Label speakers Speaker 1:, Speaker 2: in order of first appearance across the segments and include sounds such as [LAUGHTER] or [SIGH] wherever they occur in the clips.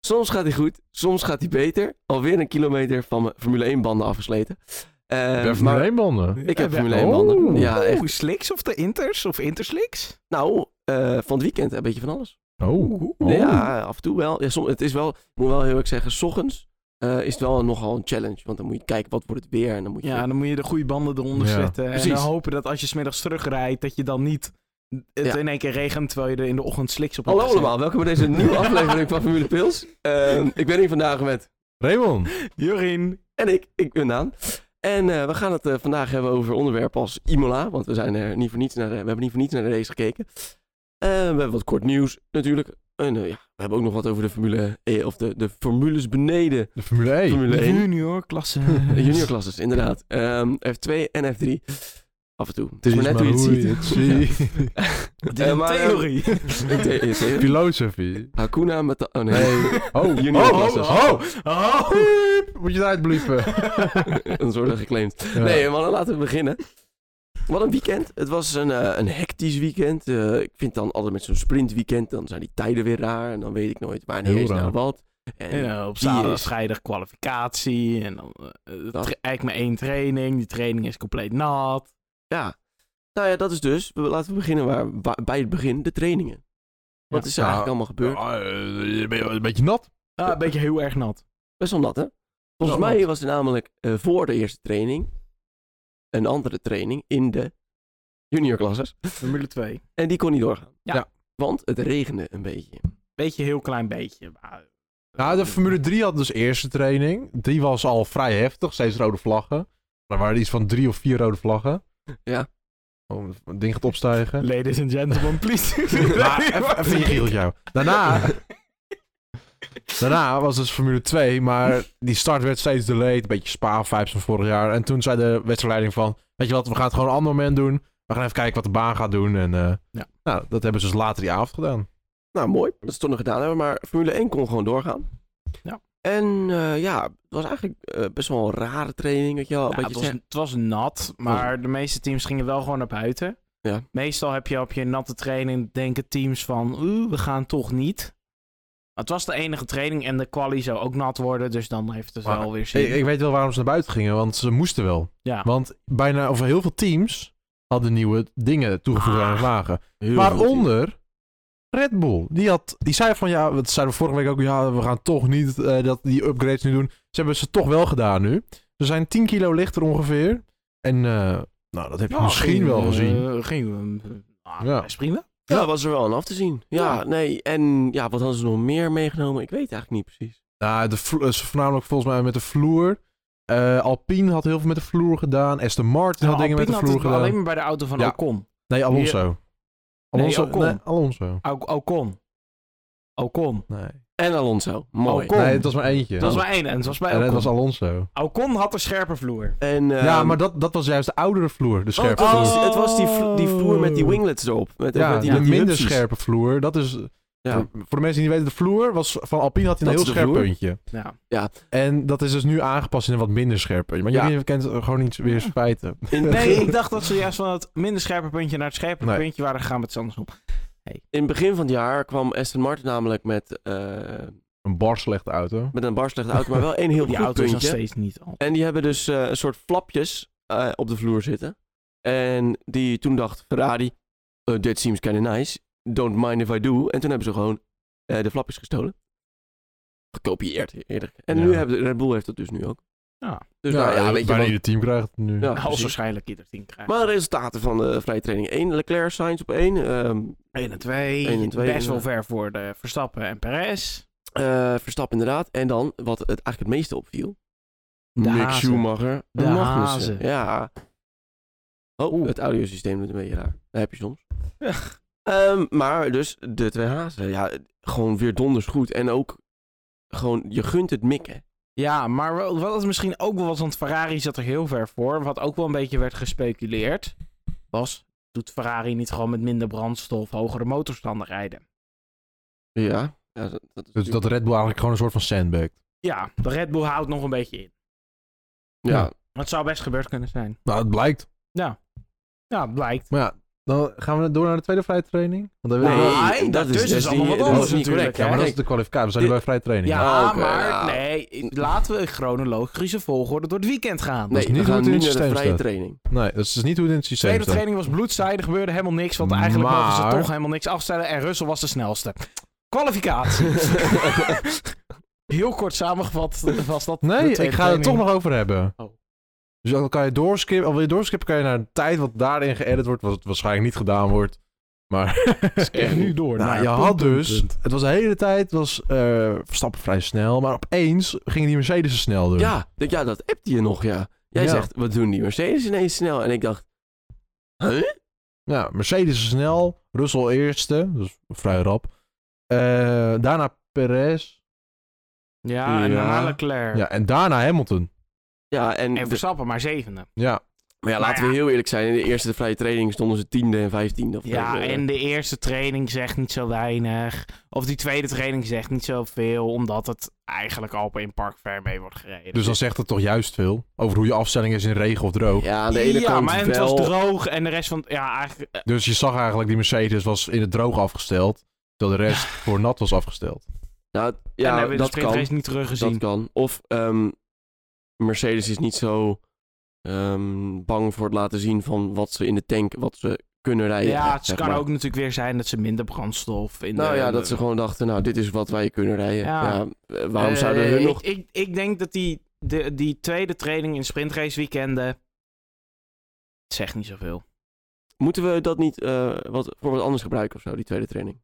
Speaker 1: Soms gaat hij goed, soms gaat hij beter. Alweer een kilometer van mijn Formule 1 banden afgesleten. Eh,
Speaker 2: Heb je
Speaker 1: maar
Speaker 2: Formule 1 banden?
Speaker 1: ik heb
Speaker 2: Ja,
Speaker 1: Formule
Speaker 2: ja.
Speaker 1: 1 banden.
Speaker 2: Oh.
Speaker 1: Ja, echt.
Speaker 3: Oeh, Slicks of de Inters of Interslicks?
Speaker 1: Nou, eh, van het weekend een beetje van alles.
Speaker 2: Oh.
Speaker 3: Oeh.
Speaker 2: Oh.
Speaker 1: Ja, af en toe wel. Ja, som- het is wel, ik moet wel heel erg zeggen, s ochtends eh, is het wel een- nogal een challenge. Want dan moet je kijken, wat wordt het weer? En dan moet je...
Speaker 2: nou,
Speaker 3: Ja, dan moet je de goede banden eronder
Speaker 2: Ja.
Speaker 3: zetten. En dan
Speaker 1: Precies.
Speaker 3: hopen dat als je smiddags terugrijdt, dat je dan niet het
Speaker 1: Ja.
Speaker 3: in één keer regent, terwijl je er in de ochtend sliks op hebt
Speaker 1: Hallo
Speaker 3: gezet.
Speaker 1: allemaal, welkom bij deze
Speaker 2: [LAUGHS]
Speaker 1: nieuwe aflevering van Formule Pils. Ehm, ik ben hier vandaag met...
Speaker 2: Raymond.
Speaker 3: Jorin.
Speaker 1: En ik, ik ben Daan. En eh, we gaan het eh, vandaag hebben over onderwerpen als Imola. Want we, zijn er niet voor niets naar, de- we hebben niet voor niets naar de race gekeken. Eh, we hebben wat kort nieuws natuurlijk. En eh, ja, we hebben ook nog wat over de Formule E, of de, de formules beneden
Speaker 2: De Formule 1.
Speaker 1: Formule 1.
Speaker 2: [LAUGHS]
Speaker 3: Junior klasse.
Speaker 1: Juniorklasses, inderdaad. Ehm, F2 en F3. Af en toe. Het is maar net hoe je het ziet. [LAUGHS]
Speaker 2: [LAUGHS]
Speaker 3: Het is
Speaker 1: Eh,
Speaker 3: een
Speaker 1: maar, eh, [LAUGHS]
Speaker 3: theorie. [LAUGHS]
Speaker 1: Ik deed- ik deed-
Speaker 2: Filosofie.
Speaker 1: Hakuna met de... Oh nee. [LAUGHS]
Speaker 2: Oh,
Speaker 1: Junior
Speaker 2: oh,
Speaker 1: classes.
Speaker 2: oh, oh.
Speaker 3: Oh.
Speaker 2: Piep. Moet je het
Speaker 1: [LAUGHS]
Speaker 2: uitbliepen?
Speaker 1: Dan wordt er geclaimd.
Speaker 2: Ja.
Speaker 1: Nee, maar laten we beginnen. Wat een weekend. Het was een, eh, een hectisch weekend. Eh, ik vind dan altijd met zo'n sprintweekend, dan zijn die tijden weer raar. En dan weet ik nooit wanneer
Speaker 2: Heel
Speaker 1: is nou
Speaker 2: raar.
Speaker 1: wat. En
Speaker 3: En, eh, op
Speaker 1: die
Speaker 3: zaterdag
Speaker 1: is-
Speaker 3: vrijdag kwalificatie. En dan eh, eh,
Speaker 1: Dat-
Speaker 3: tra- eigenlijk maar één training. Die training is compleet nat.
Speaker 1: ja. Nou ja, dat is dus. we- Laten we beginnen waar, wa- bij het begin, de trainingen. Wat
Speaker 2: Ja.
Speaker 1: is er eigenlijk
Speaker 2: Nou,
Speaker 1: allemaal gebeurd?
Speaker 2: Ah, eh, je bent wel een beetje nat.
Speaker 3: Ah, een beetje heel erg
Speaker 1: [LAUGHS]
Speaker 3: nat.
Speaker 1: Best wel nat, hè? Volgens
Speaker 3: Wel
Speaker 1: mij
Speaker 3: nat.
Speaker 1: was er namelijk eh, voor de eerste training een andere training in de juniorklasses.
Speaker 3: Formule 2.
Speaker 1: En die kon niet doorgaan.
Speaker 3: Ja.
Speaker 1: Want het regende een beetje.
Speaker 3: Beetje heel klein beetje. maar-
Speaker 2: Nou, de Formule 3 had dus eerste training. Die was al vrij heftig, steeds rode vlaggen. Er waren iets van drie of vier rode vlaggen.
Speaker 1: Ja.
Speaker 2: Oh, het ding gaat opstijgen.
Speaker 3: Ladies and gentlemen,
Speaker 2: [LAUGHS]
Speaker 3: please.
Speaker 2: Maar even-
Speaker 3: [LAUGHS]
Speaker 2: even je gieltje jou. Daarna, daarna was het Formule 2, maar die start werd steeds delayed. Een beetje spa-vibes van vorig jaar. En toen zei de wedstrijdleiding van, weet je wat, we gaan het gewoon een ander moment doen. We gaan even kijken wat de baan gaat doen. En eh,
Speaker 3: Ja.
Speaker 2: nou, dat hebben ze dus later die avond gedaan.
Speaker 1: Nou, mooi. Dat ze het toch nog gedaan hebben. Maar Formule 1 kon gewoon doorgaan.
Speaker 3: Ja.
Speaker 1: En eh, ja, het was eigenlijk eh, best wel een rare training. Weet je wel.
Speaker 3: Ja,
Speaker 1: Een beetje
Speaker 3: het, was,
Speaker 1: zeg-
Speaker 3: het was nat,
Speaker 2: Oh.
Speaker 3: maar de meeste teams gingen wel gewoon naar buiten.
Speaker 1: Ja.
Speaker 3: Meestal heb je op je natte training denken teams van, oeh, we gaan toch niet. Maar het was de enige training en de quali zou ook nat worden, dus dan heeft het
Speaker 2: Maar
Speaker 3: wel weer zin.
Speaker 2: Ik, ik weet wel waarom ze naar buiten gingen, want ze moesten wel.
Speaker 3: ja.
Speaker 2: Want bijna, of heel veel teams hadden nieuwe dingen toegevoegd aan
Speaker 3: Ah.
Speaker 2: het wagen.
Speaker 1: heel goed.
Speaker 2: Waaronder Red Bull. Die, had, die zei van ja, dat zeiden we vorige week ook. Ja, we gaan toch niet eh, dat die upgrades nu doen. Ze hebben ze toch wel gedaan nu. Ze zijn 10 kilo lichter ongeveer. En eh, nou, dat heb je
Speaker 3: Ja,
Speaker 2: misschien
Speaker 3: ging,
Speaker 2: wel
Speaker 3: eh,
Speaker 2: gezien.
Speaker 3: ging, eh, ah,
Speaker 2: Ja.
Speaker 3: best prima.
Speaker 1: Ja, was er wel aan af te zien. Ja,
Speaker 3: Ja.
Speaker 1: nee. En ja, wat hadden ze nog meer meegenomen? Ik weet eigenlijk niet precies.
Speaker 2: Nou, de, vlo- eh, ze voornamelijk volgens mij met de vloer. Eh, Alpine had heel veel met de vloer gedaan. Aston Martin had
Speaker 3: Nou,
Speaker 2: dingen met de
Speaker 3: Alpine
Speaker 2: vloer
Speaker 3: had het
Speaker 2: gedaan.
Speaker 3: alleen maar bij de auto van
Speaker 2: Ja.
Speaker 3: Alcon.
Speaker 2: Nee, Alonso. Alonso.
Speaker 3: Ocon.
Speaker 2: Nee, Alonso.
Speaker 3: Al Alcon. Alcon.
Speaker 2: Nee.
Speaker 1: En Alonso. Mooi.
Speaker 3: Ocon.
Speaker 2: nee, het was maar eentje.
Speaker 3: Dat was maar één en het was bij
Speaker 2: en het
Speaker 3: Alcon.
Speaker 2: was Alonso.
Speaker 3: Alcon had een scherpe vloer.
Speaker 1: En, ehm,
Speaker 2: ja, maar dat, dat was juist de oudere vloer. De
Speaker 1: oh,
Speaker 2: scherpe
Speaker 1: het,
Speaker 2: vloer.
Speaker 1: was, het was die, vlo- die vloer met die
Speaker 3: Oh.
Speaker 1: winglets erop. Met,
Speaker 2: Ja,
Speaker 1: met die,
Speaker 2: de
Speaker 1: met die
Speaker 2: minder
Speaker 1: rupsies.
Speaker 2: scherpe vloer. Dat is,
Speaker 1: Ja.
Speaker 2: voor, voor de mensen die niet weten, de vloer was van Alpine had hij een
Speaker 1: Dat
Speaker 2: heel
Speaker 1: is de
Speaker 2: scherp
Speaker 1: vloer.
Speaker 2: puntje. [LAUGHS]
Speaker 3: Ja.
Speaker 2: En dat is dus nu aangepast in een wat minder scherp puntje. Maar
Speaker 1: Ja.
Speaker 2: jullie kent gewoon niet weer eens feiten.
Speaker 1: In, het
Speaker 3: Nee,
Speaker 1: begin-
Speaker 3: ik dacht dat ze juist van het minder scherpe puntje naar het scherpe
Speaker 2: Nee.
Speaker 3: puntje waren gegaan met z'n andersom.
Speaker 1: in het begin van het jaar kwam Aston Martin namelijk met, eh,
Speaker 2: Een bar slechte auto.
Speaker 1: met een barslechte auto. Maar wel één heel
Speaker 3: die
Speaker 1: goed
Speaker 3: auto is nog
Speaker 1: puntje.
Speaker 3: steeds niet al.
Speaker 1: En die hebben dus eh, een soort flapjes eh, op de vloer zitten. En die toen dacht Ferrari, eh, dit seems kind nice, don't mind if I do. En toen hebben ze gewoon eh, de flapjes gestolen. Gekopieerd eerder. En
Speaker 2: Ja.
Speaker 1: nu hebben Red Bull heeft dat dus nu ook.
Speaker 3: Ja.
Speaker 1: Dus nou ja, weet je
Speaker 2: bijna
Speaker 1: wat.
Speaker 2: ieder team krijgt het nu. Dus
Speaker 1: Ja,
Speaker 3: Als
Speaker 1: precies.
Speaker 3: waarschijnlijk ieder team krijgt.
Speaker 1: Maar de resultaten van de vrije training 1, Leclerc, Sainz op 1, ehm
Speaker 3: 1 en 2,
Speaker 1: Eén en twee,
Speaker 3: best wel
Speaker 1: inderdaad.
Speaker 3: ver voor de Verstappen en Perez.
Speaker 1: eh, Verstappen inderdaad. En dan, wat het eigenlijk het meeste opviel,
Speaker 3: De
Speaker 1: Mick
Speaker 3: hazen.
Speaker 1: Schumacher,
Speaker 3: De
Speaker 1: en
Speaker 3: hazen.
Speaker 1: Magnussen. Ja. Oh,
Speaker 3: Oeh.
Speaker 1: het audiosysteem doet een beetje raar. Dat heb je soms.
Speaker 3: Ja.
Speaker 1: Ehm, maar dus de twee hazen, ja, gewoon weer donders goed. En ook gewoon, je gunt het mikken.
Speaker 3: Ja, maar wel- wat het misschien ook wel was, want Ferrari zat er heel ver voor. Wat ook wel een beetje werd gespeculeerd, was... Doet Ferrari niet gewoon met minder brandstof hogere motorstanden rijden?
Speaker 1: Ja. ja dat, dat is
Speaker 2: Dus dat
Speaker 1: natuurlijk-
Speaker 2: Red Bull eigenlijk gewoon een soort van sandbag.
Speaker 3: Ja, de Red Bull houdt nog een beetje in.
Speaker 1: ja.
Speaker 2: ja.
Speaker 3: Het zou best gebeurd kunnen zijn.
Speaker 2: Nou, het blijkt.
Speaker 3: Ja, blijkt.
Speaker 2: Maar ja, Dan gaan we door naar de tweede vrijtraining. Want dan
Speaker 3: Nee,
Speaker 2: willen we-
Speaker 3: dat is- dat is allemaal wat anders
Speaker 1: dus dat is niet
Speaker 3: natuurlijk,
Speaker 1: correct.
Speaker 2: Ja, maar dat is
Speaker 1: Kijk,
Speaker 2: de kwalificatie. We zijn nu bij vrijtraining.
Speaker 3: Ja,
Speaker 1: Ja, oké,
Speaker 3: maar
Speaker 1: ja.
Speaker 3: nee, laten we in chronologische volgorde door het weekend gaan.
Speaker 2: dat is
Speaker 1: nee, we
Speaker 2: niet hoe
Speaker 1: gaan
Speaker 2: het in
Speaker 1: nu
Speaker 2: het
Speaker 1: naar de
Speaker 2: systeem
Speaker 1: vrije
Speaker 2: staat.
Speaker 1: training.
Speaker 2: Nee, dat is dus niet hoe het in het systeem
Speaker 3: tweede
Speaker 2: staat.
Speaker 3: training was bloedsaai, er gebeurde helemaal niks, want eigenlijk
Speaker 2: Maar-
Speaker 3: mogen ze toch helemaal niks afstellen en Russell was de snelste. Kwalificatie. Heel kort samengevat was dat. de
Speaker 2: Nee,
Speaker 3: tweede
Speaker 2: ik ga het er toch
Speaker 3: training.
Speaker 2: nog over hebben.
Speaker 3: Oh.
Speaker 2: Dus dan kan je doorskippen. Al wil je doorskippen, kan je naar de tijd wat daarin geëdit wordt. Wat waarschijnlijk niet gedaan wordt.
Speaker 3: [LAUGHS]
Speaker 2: Maar [LAUGHS]
Speaker 3: En nu
Speaker 2: Nou,
Speaker 3: door. naar
Speaker 2: je
Speaker 3: punt,
Speaker 2: had
Speaker 3: punt,
Speaker 2: dus...
Speaker 3: punt.
Speaker 2: Het was de hele tijd, het was eh, Verstappen vrij snel. Maar opeens gingen die Mercedes er snel door.
Speaker 1: Ja, dat, ja, dat appte je nog, ja. Jij
Speaker 2: Ja.
Speaker 1: zegt, wat doen die Mercedes ineens snel? En ik dacht, huh?
Speaker 2: Ja, Nou, Mercedes is snel. Russell eerste, dus vrij rap. Eh, daarna Perez.
Speaker 3: Ja, en
Speaker 1: Ja.
Speaker 3: daarna Leclerc.
Speaker 2: Ja, en daarna Hamilton.
Speaker 1: Ja, en,
Speaker 3: En Verstappen maar zevende.
Speaker 2: Ja,
Speaker 1: maar ja, laten
Speaker 3: Maar
Speaker 1: we heel eerlijk zijn. In de eerste vrije training stonden ze tiende en vijftiende. Of
Speaker 3: Ja,
Speaker 1: zo.
Speaker 3: en de eerste training zegt niet zo weinig. Of die tweede training zegt niet zoveel, omdat het eigenlijk al in Park Fair mee wordt gereden.
Speaker 2: dus dan zegt het toch juist veel over hoe je afstelling is in regen of droog.
Speaker 1: Ja, aan de ene
Speaker 3: ja,
Speaker 1: kant
Speaker 3: maar het
Speaker 1: wel.
Speaker 3: was droog en de rest van... Ja, eigenlijk... eh,
Speaker 2: Dus je zag eigenlijk die Mercedes was in het droog afgesteld, terwijl de rest voor nat was afgesteld.
Speaker 1: Nou,
Speaker 3: en dan
Speaker 1: ja,
Speaker 3: hebben we de
Speaker 1: dat kan.
Speaker 3: sprintrace niet teruggezien.
Speaker 1: Dat kan. Of ehm, Mercedes is niet zo ehm, bang voor het laten zien van wat ze in de tank, wat ze kunnen rijden.
Speaker 3: ja, het
Speaker 1: zeg
Speaker 3: kan
Speaker 1: maar.
Speaker 3: ook natuurlijk weer zijn dat ze minder brandstof... In
Speaker 1: Nou
Speaker 3: de, Eh,
Speaker 1: ja, dat ze gewoon dachten, nou, dit is wat wij kunnen rijden.
Speaker 3: Ja.
Speaker 1: Ja. eh, waarom
Speaker 3: Eh,
Speaker 1: zouden hun
Speaker 3: ik,
Speaker 1: nog...
Speaker 3: Ik, ik denk dat die, de, die tweede training in sprintrace weekenden... Het zegt niet zoveel.
Speaker 1: Moeten we dat niet eh, wat, voor wat anders gebruiken of zo, die tweede training?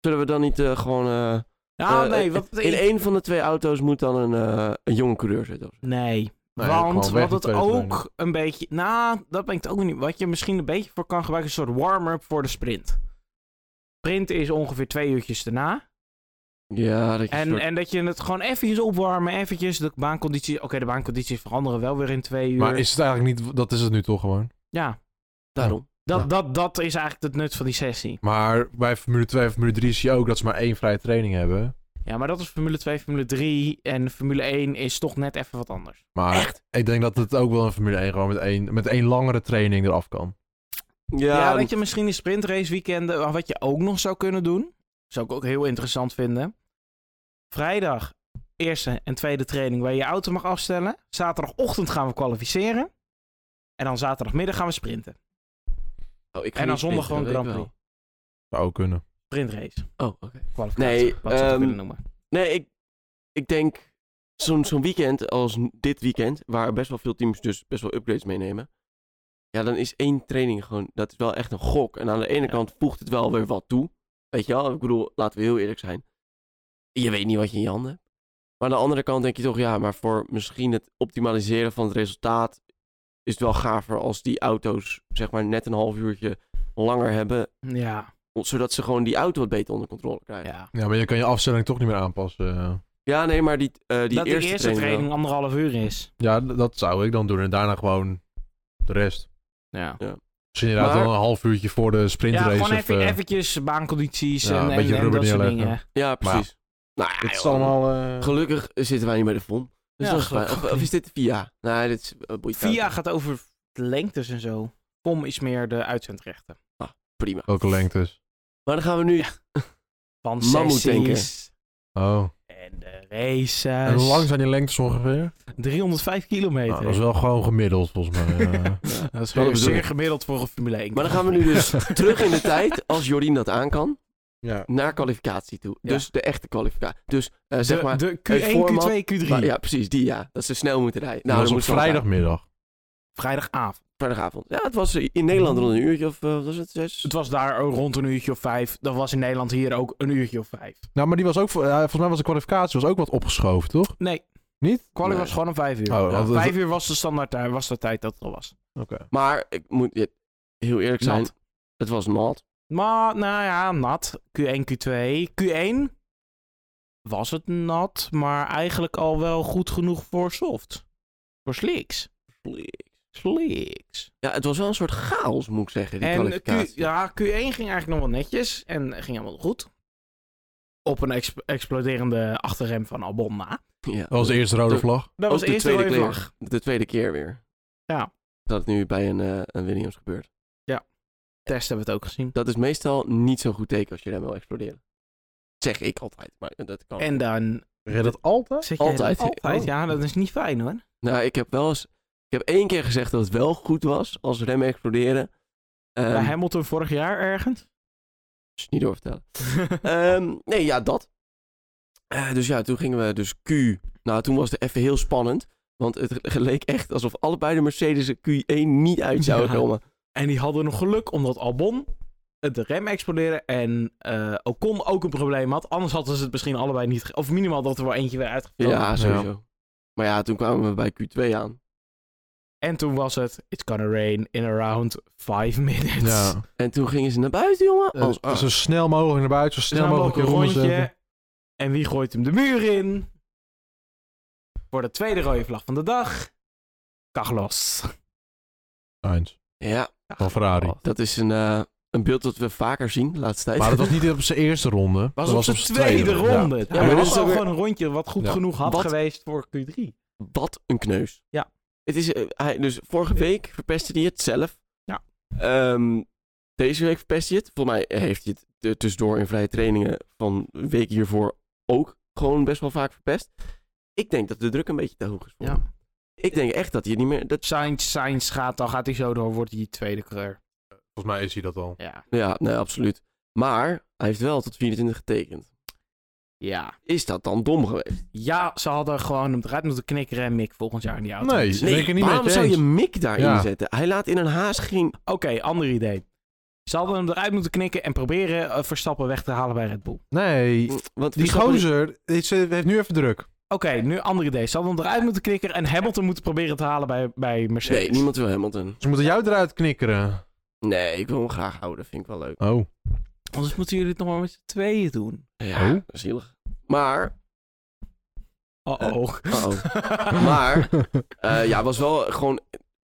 Speaker 1: Zullen we dan niet eh, gewoon... eh,
Speaker 3: Ja,
Speaker 1: eh,
Speaker 3: Nou, nee,
Speaker 1: eh,
Speaker 3: wat...
Speaker 1: In één van de twee auto's moet dan een, eh, een jonge coureur zitten. of zo.
Speaker 3: Nee,
Speaker 2: Nee, gewoon
Speaker 3: want
Speaker 2: weg
Speaker 3: wat
Speaker 2: die
Speaker 3: het
Speaker 2: tweede training.
Speaker 3: ook een beetje... Nou, dat ben ik het ook niet... Wat je misschien een beetje voor kan gebruiken... is een soort warm-up voor de sprint. Sprint is ongeveer twee uurtjes daarna.
Speaker 1: Ja, dat je
Speaker 3: En,
Speaker 1: soort-
Speaker 3: en dat je het gewoon eventjes opwarmen, eventjes de baanconditie... Oké, de baancondities veranderen wel weer in twee uur.
Speaker 2: Maar is het eigenlijk niet, dat is het nu toch gewoon.
Speaker 3: Ja,
Speaker 1: daarom.
Speaker 3: dat,
Speaker 2: Ja.
Speaker 3: Dat, dat is eigenlijk het nut van die sessie.
Speaker 2: Maar bij Formule 2 en Formule 3 zie je ook dat ze maar één vrije training hebben.
Speaker 3: Ja, maar dat is Formule 2, Formule 3 en Formule 1 is toch net even wat anders.
Speaker 2: Maar ik denk dat het ook wel een Formule 1 gewoon met één, met één langere training eraf kan.
Speaker 3: Ja,
Speaker 1: Ja,
Speaker 3: weet je, misschien die sprintrace weekenden, maar wat je ook nog zou kunnen doen, zou ik ook heel interessant vinden. Vrijdag, eerste en tweede training waar je je auto mag afstellen. Zaterdagochtend gaan we kwalificeren. En dan zaterdagmiddag gaan we sprinten.
Speaker 1: Oh, ik ga
Speaker 3: En dan
Speaker 1: niet sprinten,
Speaker 3: zondag gewoon
Speaker 1: dat
Speaker 3: Grand
Speaker 1: weet ik
Speaker 3: Prix.
Speaker 2: Zou ook kunnen.
Speaker 3: Sprintrace.
Speaker 1: wel. Oh, oké.
Speaker 3: Kwalificatie,
Speaker 1: Nee,
Speaker 3: wat ze dat
Speaker 1: ehm,
Speaker 3: willen noemen.
Speaker 1: Nee, ik, ik denk zo'n zo'n weekend als n- dit weekend, waar best wel veel teams dus best wel upgrades meenemen. Ja, dan is één training gewoon, dat is wel echt een gok. En aan de ene
Speaker 3: Ja.
Speaker 1: kant voegt het wel weer wat toe. Weet je wel, ik bedoel, laten we heel eerlijk zijn. Je weet niet wat je in je handen hebt. Maar aan de andere kant denk je toch, ja, maar voor misschien het optimaliseren van het resultaat is het wel gaver als die auto's zeg maar net een half uurtje langer hebben,
Speaker 3: Ja,
Speaker 1: zodat ze gewoon die auto wat beter onder controle krijgen.
Speaker 3: ja.
Speaker 2: Ja, maar je kan je afstelling toch niet meer aanpassen. eh.
Speaker 1: Ja, nee, maar die, eh, die
Speaker 3: dat de
Speaker 1: eerste,
Speaker 3: eerste
Speaker 1: training
Speaker 3: training,
Speaker 1: wel.
Speaker 3: anderhalf uur is.
Speaker 2: Ja, d- dat zou ik dan doen. En daarna gewoon de rest.
Speaker 3: Ja.
Speaker 2: Misschien inderdaad
Speaker 1: Maar-
Speaker 2: wel een half uurtje voor de sprintrace.
Speaker 3: Ja, gewoon
Speaker 2: of,
Speaker 3: even,
Speaker 2: eh,
Speaker 3: eventjes baancondities
Speaker 2: ja, een
Speaker 3: en, en,
Speaker 2: beetje
Speaker 3: en
Speaker 2: rubber
Speaker 3: dat soort
Speaker 2: neerleggen.
Speaker 3: dingen.
Speaker 1: Ja,
Speaker 2: Maar
Speaker 1: precies. nou, ja,
Speaker 2: dit is
Speaker 1: joh,
Speaker 2: allemaal... eh,
Speaker 1: Gelukkig zitten wij niet bij de FOM. Dus
Speaker 3: Ja,
Speaker 1: dat is fijn.
Speaker 3: gelukkig
Speaker 1: Of, of is dit de VIA? Nee, dit is eh, boeit
Speaker 3: VIA
Speaker 1: uit.
Speaker 3: gaat over lengtes en zo. POM is meer de uitzendrechten.
Speaker 1: Prima.
Speaker 2: Welke lengtes?
Speaker 1: Maar dan gaan we nu...
Speaker 3: Van
Speaker 1: Mammoet denken.
Speaker 3: sessies
Speaker 2: Oh.
Speaker 3: en de races.
Speaker 2: en hoe lang zijn die lengtes ongeveer?
Speaker 3: 305 kilometer.
Speaker 2: Nou, dat
Speaker 3: [LAUGHS]
Speaker 2: is wel gewoon gemiddeld volgens mij. [LAUGHS] eh.
Speaker 1: Ja.
Speaker 3: Dat is
Speaker 1: Wel de
Speaker 3: zeer,
Speaker 1: bedoeling.
Speaker 3: zeer gemiddeld voor een Formule 1.
Speaker 1: Maar dan gaan we nu
Speaker 3: [LAUGHS]
Speaker 1: dus [LAUGHS] terug in de tijd, als Jorien dat aan kan,
Speaker 2: ja.
Speaker 1: naar kwalificatie toe.
Speaker 3: Ja.
Speaker 1: Dus de echte kwalificatie. Dus eh, zeg
Speaker 3: de,
Speaker 1: maar...
Speaker 3: de
Speaker 1: het
Speaker 3: Q1,
Speaker 1: format-
Speaker 3: Q2, Q3.
Speaker 1: maar- ja, precies, die ja. Dat ze snel moeten rijden.
Speaker 2: Nou, dat
Speaker 1: dan
Speaker 2: was op
Speaker 1: moeten ze wel
Speaker 2: vrijdagmiddag.
Speaker 3: Vrijdagavond.
Speaker 1: gaan. Vrijdagavond. Ja, het was eh, in Nederland rond een uurtje of... eh, wat was het? Zes?
Speaker 3: Het was daar ook rond een uurtje of vijf. Dat was in Nederland hier ook een uurtje of vijf.
Speaker 2: Nou, maar die was ook... voor- ja, volgens mij was de kwalificatie was ook wat opgeschoven, toch?
Speaker 3: Nee.
Speaker 2: Niet?
Speaker 3: Quali
Speaker 1: Nee.
Speaker 3: was gewoon om vijf uur.
Speaker 2: Oh,
Speaker 3: Ja,
Speaker 2: dat- dat-
Speaker 3: vijf uur was de standaard daar, was de tijd dat het al was. Nou,
Speaker 2: Oké.
Speaker 1: Maar ik moet ja, heel eerlijk zijn.
Speaker 3: Nat.
Speaker 1: Het was nat.
Speaker 3: Maar, nou ja, nat. Q1, Q2. Q1 was het nat, maar eigenlijk al wel goed genoeg voor soft. Voor slicks. Slicks.
Speaker 1: Ja, het was wel een soort chaos, moet ik zeggen, die
Speaker 3: En eh, Q,
Speaker 1: kwalificatie.
Speaker 3: ja, Q1 ging eigenlijk nog wel netjes en ging helemaal goed. Op een ex- exploderende achterrem van Albon na.
Speaker 1: ja.
Speaker 2: Dat was de eerste rode
Speaker 1: Ook
Speaker 2: vlag.
Speaker 3: Dat was
Speaker 1: de
Speaker 3: de eerste
Speaker 1: tweede
Speaker 3: rode
Speaker 1: kleur.
Speaker 3: vlag.
Speaker 1: de tweede keer weer.
Speaker 3: Ja.
Speaker 1: Dat het nu bij een, eh, een Williams gebeurt.
Speaker 3: Ja. test hebben we het ook gezien.
Speaker 1: Dat is meestal niet zo'n goed teken als je rem wil exploderen. Zeg ik altijd, maar dat kan.
Speaker 3: En dan
Speaker 2: Red het altijd?
Speaker 3: zit je
Speaker 1: Altijd.
Speaker 3: altijd.
Speaker 1: Oh.
Speaker 3: Ja, dat is niet fijn hoor.
Speaker 1: Nou, ik heb wel eens... Ik heb één keer gezegd dat het wel goed was als remmen exploderen. Ehm,
Speaker 3: Bij Hamilton vorig jaar ergens. [LAUGHS]
Speaker 1: dus niet doorvertellen. Ehm, nee, ja, dat. Eh, dus ja, toen gingen we dus Q. Nou, toen was het even heel spannend. Want het [LAUGHS] geleek echt alsof allebei de Mercedes Q1 niet uit zouden
Speaker 3: Ja.
Speaker 1: komen.
Speaker 3: en die hadden nog geluk omdat Albon het rem explodeerde en eh Ocon ook een probleem had. Anders hadden ze het misschien allebei niet... ge- Of minimaal dat er wel eentje weer uitgevlogen
Speaker 1: Ja, sowieso. Maar ja, toen kwamen we bij Q2 aan.
Speaker 3: En toen was het, it's gonna rain in around five minutes. [LAUGHS]
Speaker 2: Ja.
Speaker 1: En toen gingen ze naar buiten, jongen.
Speaker 2: Eh,
Speaker 1: Als, ah,
Speaker 2: zo snel mogelijk naar buiten, zo
Speaker 3: Dus
Speaker 2: snel
Speaker 3: dan
Speaker 2: mogelijk
Speaker 3: loopt
Speaker 2: je
Speaker 3: een
Speaker 2: rondes hebben.
Speaker 3: rondje. En wie gooit hem de muur in? Voor de tweede rode vlag van de dag. Carlos.
Speaker 2: Eens,
Speaker 1: ja,
Speaker 2: van Ferrari.
Speaker 1: dat is een, eh, een beeld dat we vaker zien de laatste tijd.
Speaker 2: Maar dat was niet op zijn eerste ronde. dat
Speaker 3: Was op zijn tweede,
Speaker 2: Ja.
Speaker 3: ronde.
Speaker 1: maar
Speaker 3: maar
Speaker 1: dat
Speaker 3: dat
Speaker 1: is
Speaker 3: was
Speaker 1: ook
Speaker 3: ook
Speaker 1: weer-
Speaker 3: gewoon een rondje wat goed
Speaker 2: Ja.
Speaker 3: genoeg had
Speaker 1: Wat?
Speaker 3: geweest voor Q3.
Speaker 1: [LAUGHS] Wat een kneus.
Speaker 3: Ja.
Speaker 1: Het is, eh, hij, dus vorige week verpestte hij het zelf.
Speaker 3: Ja.
Speaker 1: Ehm, deze week verpest hij het. Volgens mij heeft hij het eh, tussendoor in vrije trainingen van de week hiervoor ook gewoon best wel vaak verpest. Ik denk dat de druk een beetje te hoog is voor
Speaker 3: Ja.
Speaker 1: hem. Ik denk echt dat hij niet meer... Dat,
Speaker 3: Sainz, Sainz gaat, dan gaat hij zo door, wordt hij tweede kleur.
Speaker 2: Volgens mij is hij dat al.
Speaker 3: Ja.
Speaker 1: ja, nee, absoluut. Maar hij heeft wel tot 24 getekend.
Speaker 3: ja.
Speaker 1: Is dat dan dom geweest?
Speaker 3: Ja, ze hadden gewoon hem eruit moeten knikkeren en Mick volgend jaar in die auto.
Speaker 2: Nee,
Speaker 3: moeten
Speaker 2: ben ik er niet mee
Speaker 1: waarom
Speaker 2: eens.
Speaker 1: zou je Mick daarin
Speaker 2: Ja.
Speaker 1: zetten? Hij laat in een haas geen...
Speaker 3: Oké, ander idee. Ze hadden hem eruit moeten knikken en proberen eh, Verstappen weg te halen bij Red Bull.
Speaker 2: Nee,
Speaker 1: Mm, Want
Speaker 2: die
Speaker 1: Verstappen-
Speaker 2: gozer is, eh, heeft nu even druk.
Speaker 3: Oké, nu ander idee. Ze hadden hem eruit moeten knikken en Hamilton moeten proberen te halen bij, bij Mercedes.
Speaker 1: Nee, niemand wil Hamilton.
Speaker 2: Ze moeten jou eruit knikkeren.
Speaker 1: Nee, ik wil hem graag houden. Vind ik wel leuk.
Speaker 2: Oh.
Speaker 3: Anders moeten jullie het nog maar met z'n tweeën doen.
Speaker 1: Ja,
Speaker 2: Oh.
Speaker 1: zielig. Maar,
Speaker 3: Oh-oh.
Speaker 1: uh-oh.
Speaker 2: [LAUGHS]
Speaker 1: maar eh, ja, was wel gewoon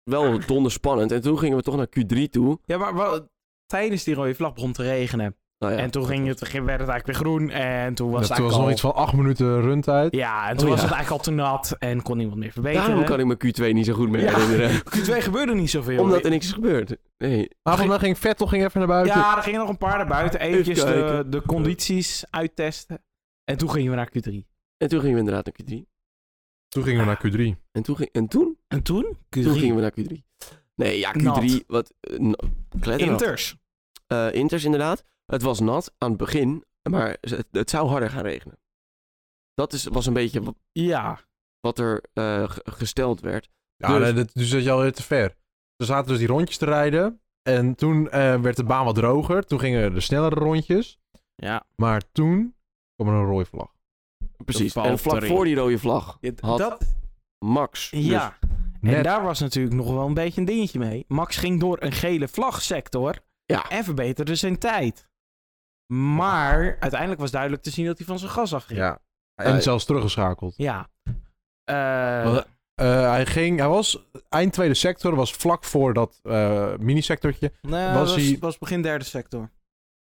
Speaker 1: wel donderspannend. En toen gingen we toch naar Q3 toe.
Speaker 3: [LAUGHS] ja, maar wel, tijdens die rode vlag begon te regenen.
Speaker 1: Nou ja,
Speaker 3: en toen ging het, ging- werd het eigenlijk weer groen en toen was
Speaker 2: dat
Speaker 3: het
Speaker 2: was
Speaker 3: eigenlijk
Speaker 2: nog
Speaker 3: al...
Speaker 2: iets van acht minuten runtijd.
Speaker 3: Ja, en toen
Speaker 1: Oh,
Speaker 3: was
Speaker 1: ja.
Speaker 3: het eigenlijk al te nat en kon niemand meer verbeteren.
Speaker 1: Daarom kan ik me Q2 niet zo goed meer
Speaker 3: Ja. [LAUGHS]
Speaker 1: herinneren.
Speaker 3: Q2 gebeurde niet zoveel.
Speaker 1: Omdat er niks is gebeurd. Nee.
Speaker 2: Maar volgens mij ging Vettel ging even naar buiten.
Speaker 3: Ja, er gingen nog een paar naar buiten. Eventjes
Speaker 1: Even
Speaker 3: de,
Speaker 1: kijken.
Speaker 3: de condities uittesten. En toen gingen we naar Q3.
Speaker 1: En toen gingen we inderdaad naar Q3.
Speaker 2: Toen gingen we naar Q3.
Speaker 1: En toen, ging, en toen?
Speaker 3: En toen? Q3.
Speaker 1: Toen gingen we naar Q3. Nee, ja, Q3,
Speaker 3: Nat.
Speaker 1: wat... eh, no- kletternat.
Speaker 3: Inters.
Speaker 1: Eh, inters inderdaad. Het was nat aan het begin, maar het, het zou harder gaan regenen. Dat is, was een beetje wa-
Speaker 3: Ja.
Speaker 1: wat er eh, ge- gesteld werd.
Speaker 2: Ja,
Speaker 1: Dus-
Speaker 2: nee, dat, dus dat je alweer te ver. Ze zaten dus die rondjes te rijden. En toen eh, werd de baan wat droger. Toen gingen de snellere rondjes.
Speaker 3: Ja.
Speaker 2: Maar toen kwam er een rode vlag.
Speaker 1: Precies.
Speaker 3: valt
Speaker 1: En vlak
Speaker 3: erin.
Speaker 1: voor die rode vlag had
Speaker 3: Dat,
Speaker 1: Max. dus-
Speaker 3: ja. En
Speaker 2: Net.
Speaker 3: daar was natuurlijk nog wel een beetje een dingetje mee. Max ging door een gele vlagsector
Speaker 1: Ja.
Speaker 3: en verbeterde zijn tijd. Maar uiteindelijk was duidelijk te zien dat hij van zijn gas afging.
Speaker 2: Ja. En
Speaker 1: Eh,
Speaker 2: zelfs teruggeschakeld.
Speaker 3: Ja. Eh,
Speaker 2: Wat- Eh, hij, ging, hij was eind tweede sector, was vlak voor dat eh minisectortje.
Speaker 3: nee,
Speaker 2: was
Speaker 3: was,
Speaker 2: hij-
Speaker 3: was begin derde sector.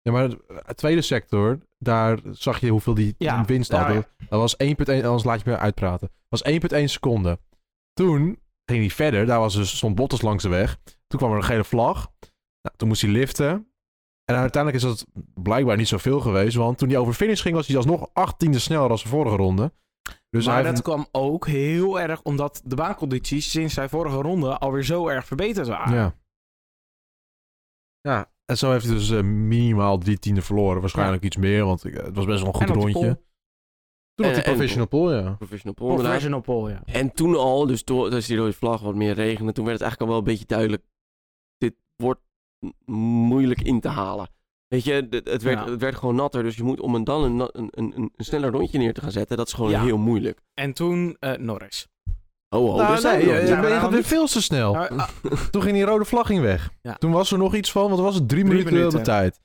Speaker 2: Ja, maar het eh, tweede sector, daar zag je hoeveel die
Speaker 3: Ja,
Speaker 2: winst
Speaker 3: nou
Speaker 2: hadden. Dat was 1.1, anders laat je me uitpraten. Dat was 1.1 seconde. Toen ging hij verder, daar was dus, stond Bottas langs de weg. Toen kwam er een gele vlag. Nou, toen moest hij liften. En uiteindelijk is dat blijkbaar niet zoveel geweest, want toen hij over finish ging was hij alsnog 18e sneller dan de vorige ronde. Dus
Speaker 3: maar
Speaker 2: hij
Speaker 3: dat
Speaker 2: heeft-
Speaker 3: kwam ook heel erg omdat de baancondities sinds zijn vorige ronde alweer zo erg verbeterd waren.
Speaker 2: Ja. Ja, en zo heeft hij dus eh, minimaal drie tienden verloren. Waarschijnlijk iets meer, want eh, het was best wel een goed
Speaker 3: En op de
Speaker 2: rondje. Toen had
Speaker 1: En-
Speaker 2: hij professional pole, ja.
Speaker 1: Professional pole,
Speaker 3: Pole.
Speaker 1: inderdaad.
Speaker 3: Professional pole, ja.
Speaker 1: En toen al, dus toen als die rode vlag wat meer regende, toen werd het eigenlijk al wel een beetje duidelijk. Dit wordt m- moeilijk in te halen. Weet je, d- het werd,
Speaker 3: Ja.
Speaker 1: het werd gewoon natter. Dus je moet om een dan een, na- een, een, een sneller rondje neer te gaan zetten, dat is gewoon
Speaker 3: Ja.
Speaker 1: heel moeilijk.
Speaker 3: En toen eh, Norris.
Speaker 1: Oh, oh,
Speaker 2: nou,
Speaker 1: daar zijn
Speaker 2: nee,
Speaker 1: we
Speaker 2: eh,
Speaker 1: nog.
Speaker 3: ja,
Speaker 2: je
Speaker 3: maar
Speaker 2: gaat
Speaker 3: dan
Speaker 2: weer
Speaker 3: niet.
Speaker 2: veel te snel.
Speaker 3: Nou, ah,
Speaker 2: Toen ging die rode vlag ging weg.
Speaker 3: Ja.
Speaker 2: Toen was er nog iets van, want was het drie,
Speaker 3: Drie
Speaker 2: minuten, op de
Speaker 3: minuten.
Speaker 2: tijd.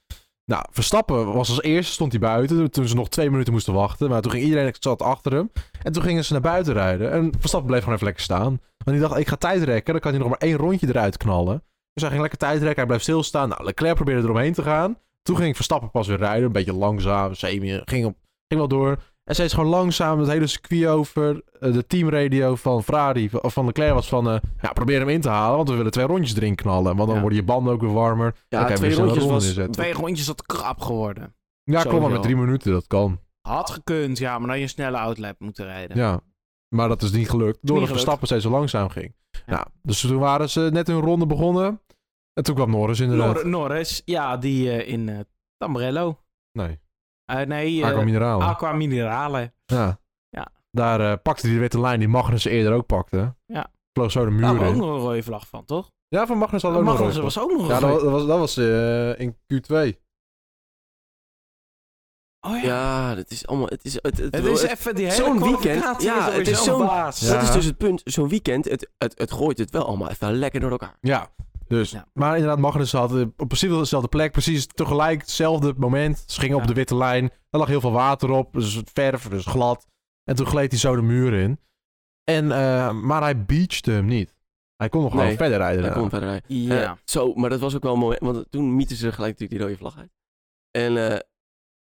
Speaker 2: Nou, Verstappen was als eerste, stond hij buiten. Toen ze nog twee minuten moesten wachten. Maar toen ging iedereen zat achter hem. En toen gingen ze naar buiten rijden. En Verstappen bleef gewoon even lekker staan. Want hij dacht, ik ga tijd rekken. Dan kan hij nog maar één rondje eruit knallen. Dus hij ging lekker tijd rekken. Hij bleef stilstaan. Nou, Leclerc probeerde eromheen te gaan. Toen ging Verstappen pas weer rijden. Een beetje langzaam, semi. Ging, op, ging wel door. En steeds gewoon langzaam het hele circuit over. Eh, de teamradio van Ferrari, van- of van Leclerc was van... eh, ja, probeer hem in te halen, want we willen twee rondjes erin knallen. Want dan
Speaker 3: Ja.
Speaker 2: worden je banden ook weer warmer.
Speaker 1: Ja,
Speaker 2: Dan kan je
Speaker 1: twee
Speaker 2: weer snel
Speaker 1: rondjes
Speaker 2: een ronde
Speaker 1: was...
Speaker 2: inzetten.
Speaker 3: Twee rondjes dat krap geworden.
Speaker 2: Ja, klopt, maar
Speaker 1: sowieso.
Speaker 2: met drie minuten, dat kan.
Speaker 3: Had gekund, ja, maar dan je een snelle outlap moeten rijden.
Speaker 2: Ja. Maar dat is niet gelukt, doordat
Speaker 3: gelukt.
Speaker 2: Verstappen steeds zo langzaam ging. Nou, dus toen waren ze net hun ronde begonnen. En toen kwam Norris inderdaad.
Speaker 3: Nor- Norris, ja, die eh, in eh Tambrello.
Speaker 2: Nee,
Speaker 3: Eh, nee, eh,
Speaker 2: Aqua Minerale.
Speaker 3: Aqua Minerale.
Speaker 2: Ja.
Speaker 3: Ja.
Speaker 2: Daar eh, pakte hij weer de lijn die Magnussen eerder ook pakte.
Speaker 3: Ja.
Speaker 2: Vloog zo de muur
Speaker 3: Daar was ook
Speaker 2: in.
Speaker 3: nog een rode vlag van, toch?
Speaker 2: Ja, van Magnus had ook nog
Speaker 3: Magnus
Speaker 2: een
Speaker 3: was ook nog een
Speaker 2: Ja, dat
Speaker 3: rode-
Speaker 2: was, dat was, dat was eh, in Q2.
Speaker 3: Oh ja.
Speaker 1: Ja, dat is allemaal... Het is, het, het,
Speaker 3: Het is
Speaker 1: het-
Speaker 3: even die
Speaker 1: zo'n
Speaker 3: hele
Speaker 1: weekend.
Speaker 3: kwalificatie
Speaker 1: Ja,
Speaker 3: is
Speaker 1: het is
Speaker 3: sowieso
Speaker 1: zo'n-
Speaker 3: baas.
Speaker 2: Ja.
Speaker 1: dat is dus het punt. Zo'n weekend, het, het, het gooit het wel allemaal even lekker door elkaar.
Speaker 2: Ja, dus.
Speaker 3: Ja.
Speaker 2: Maar inderdaad, Magnus had eh, op precies dezelfde plek, precies tegelijk, hetzelfde moment. Ze gingen
Speaker 3: Ja.
Speaker 2: op de witte lijn, er lag heel veel water op, dus het verf, dus glad. En toen gleed hij zo de muur in. En, eh, maar hij beachte hem niet. Hij kon nog gewoon
Speaker 1: Nee,
Speaker 2: verder rijden.
Speaker 1: Daar
Speaker 2: daarna.
Speaker 1: kon verder rijden.
Speaker 3: Ja.
Speaker 1: Eh, zo, maar dat was ook wel een moment, want toen mieten ze gelijk natuurlijk die rode vlag uit. En eh,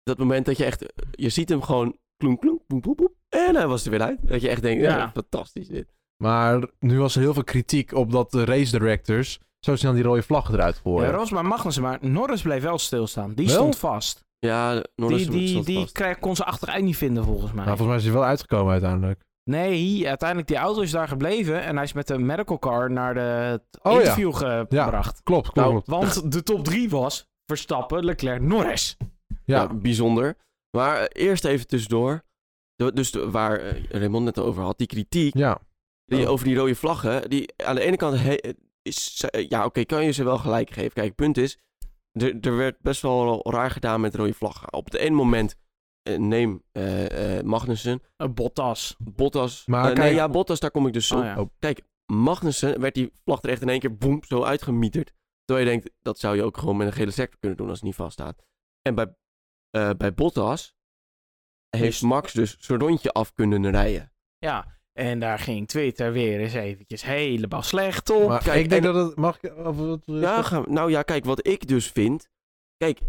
Speaker 1: dat moment dat je echt, je ziet hem gewoon kloen kloen, boep boep boep, en hij was er weer uit. Dat je echt denkt, ja,
Speaker 3: Ja.
Speaker 1: fantastisch dit.
Speaker 2: Maar nu was er heel veel kritiek op dat de race directors zo snel die rode vlag eruit
Speaker 3: Ja,
Speaker 2: gooien.
Speaker 3: Ros, maar Magnussen, maar Norris bleef wel stilstaan. Die
Speaker 2: Wel?
Speaker 3: stond vast.
Speaker 1: Ja, Norris
Speaker 3: Die, die,
Speaker 1: stond
Speaker 3: die
Speaker 1: vast.
Speaker 3: kreeg, kon ze achteruit niet vinden, volgens mij.
Speaker 2: Nou, volgens mij is hij wel uitgekomen uiteindelijk.
Speaker 3: Nee, uiteindelijk die auto is daar gebleven en hij is met de medical car naar de het
Speaker 2: Oh ja.
Speaker 3: interview gebracht.
Speaker 2: Klopt, klopt.
Speaker 1: Nou,
Speaker 2: klopt.
Speaker 3: Want de top 3 was Verstappen, Leclerc, Norris.
Speaker 2: Ja.
Speaker 1: Ja, bijzonder. Maar eh, eerst even tussendoor, De- dus de- waar eh, Raymond net over had, die kritiek
Speaker 2: ja.
Speaker 1: die,
Speaker 3: Oh.
Speaker 1: over die rode vlaggen, die aan de ene kant, he- is, ze- eh, ja oké, kan je ze wel gelijk geven. Kijk, het punt is, er er werd best wel raar gedaan met rode vlaggen. Op het ene moment, eh, neem eh, eh, Magnussen,
Speaker 3: Eh, Bottas.
Speaker 1: Bottas.
Speaker 2: Maar
Speaker 1: eh, nee,
Speaker 2: kijk-
Speaker 1: ja, Bottas, daar kom ik dus op.
Speaker 3: Oh, ja.
Speaker 1: Magnussen werd die vlag er echt in één keer boem, zo uitgemieterd. Terwijl je denkt, dat zou je ook gewoon met een gele sector kunnen doen als het niet vaststaat. En bij, eh, bij Bottas heeft Max dus zijn rondje af kunnen rijden.
Speaker 3: Ja, en daar ging Twitter weer eens eventjes helemaal slecht op.
Speaker 2: Maar
Speaker 1: kijk,
Speaker 2: ik denk
Speaker 1: en-
Speaker 2: dat het... Mag ik... of wat-
Speaker 1: Ja, ga- nou ja, kijk, wat ik dus vind... Kijk,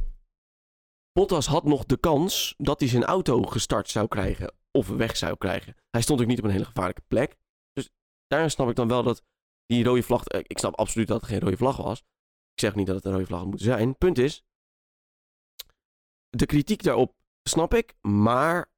Speaker 1: Bottas had nog de kans dat hij zijn auto gestart zou krijgen. Of weg zou krijgen. Hij stond ook niet op een hele gevaarlijke plek. Dus daarin snap ik dan wel dat die rode vlag... eh, Ik snap absoluut dat het geen rode vlag was. Ik zeg niet dat het een rode vlag moet zijn. Punt is... De kritiek daarop snap ik, maar...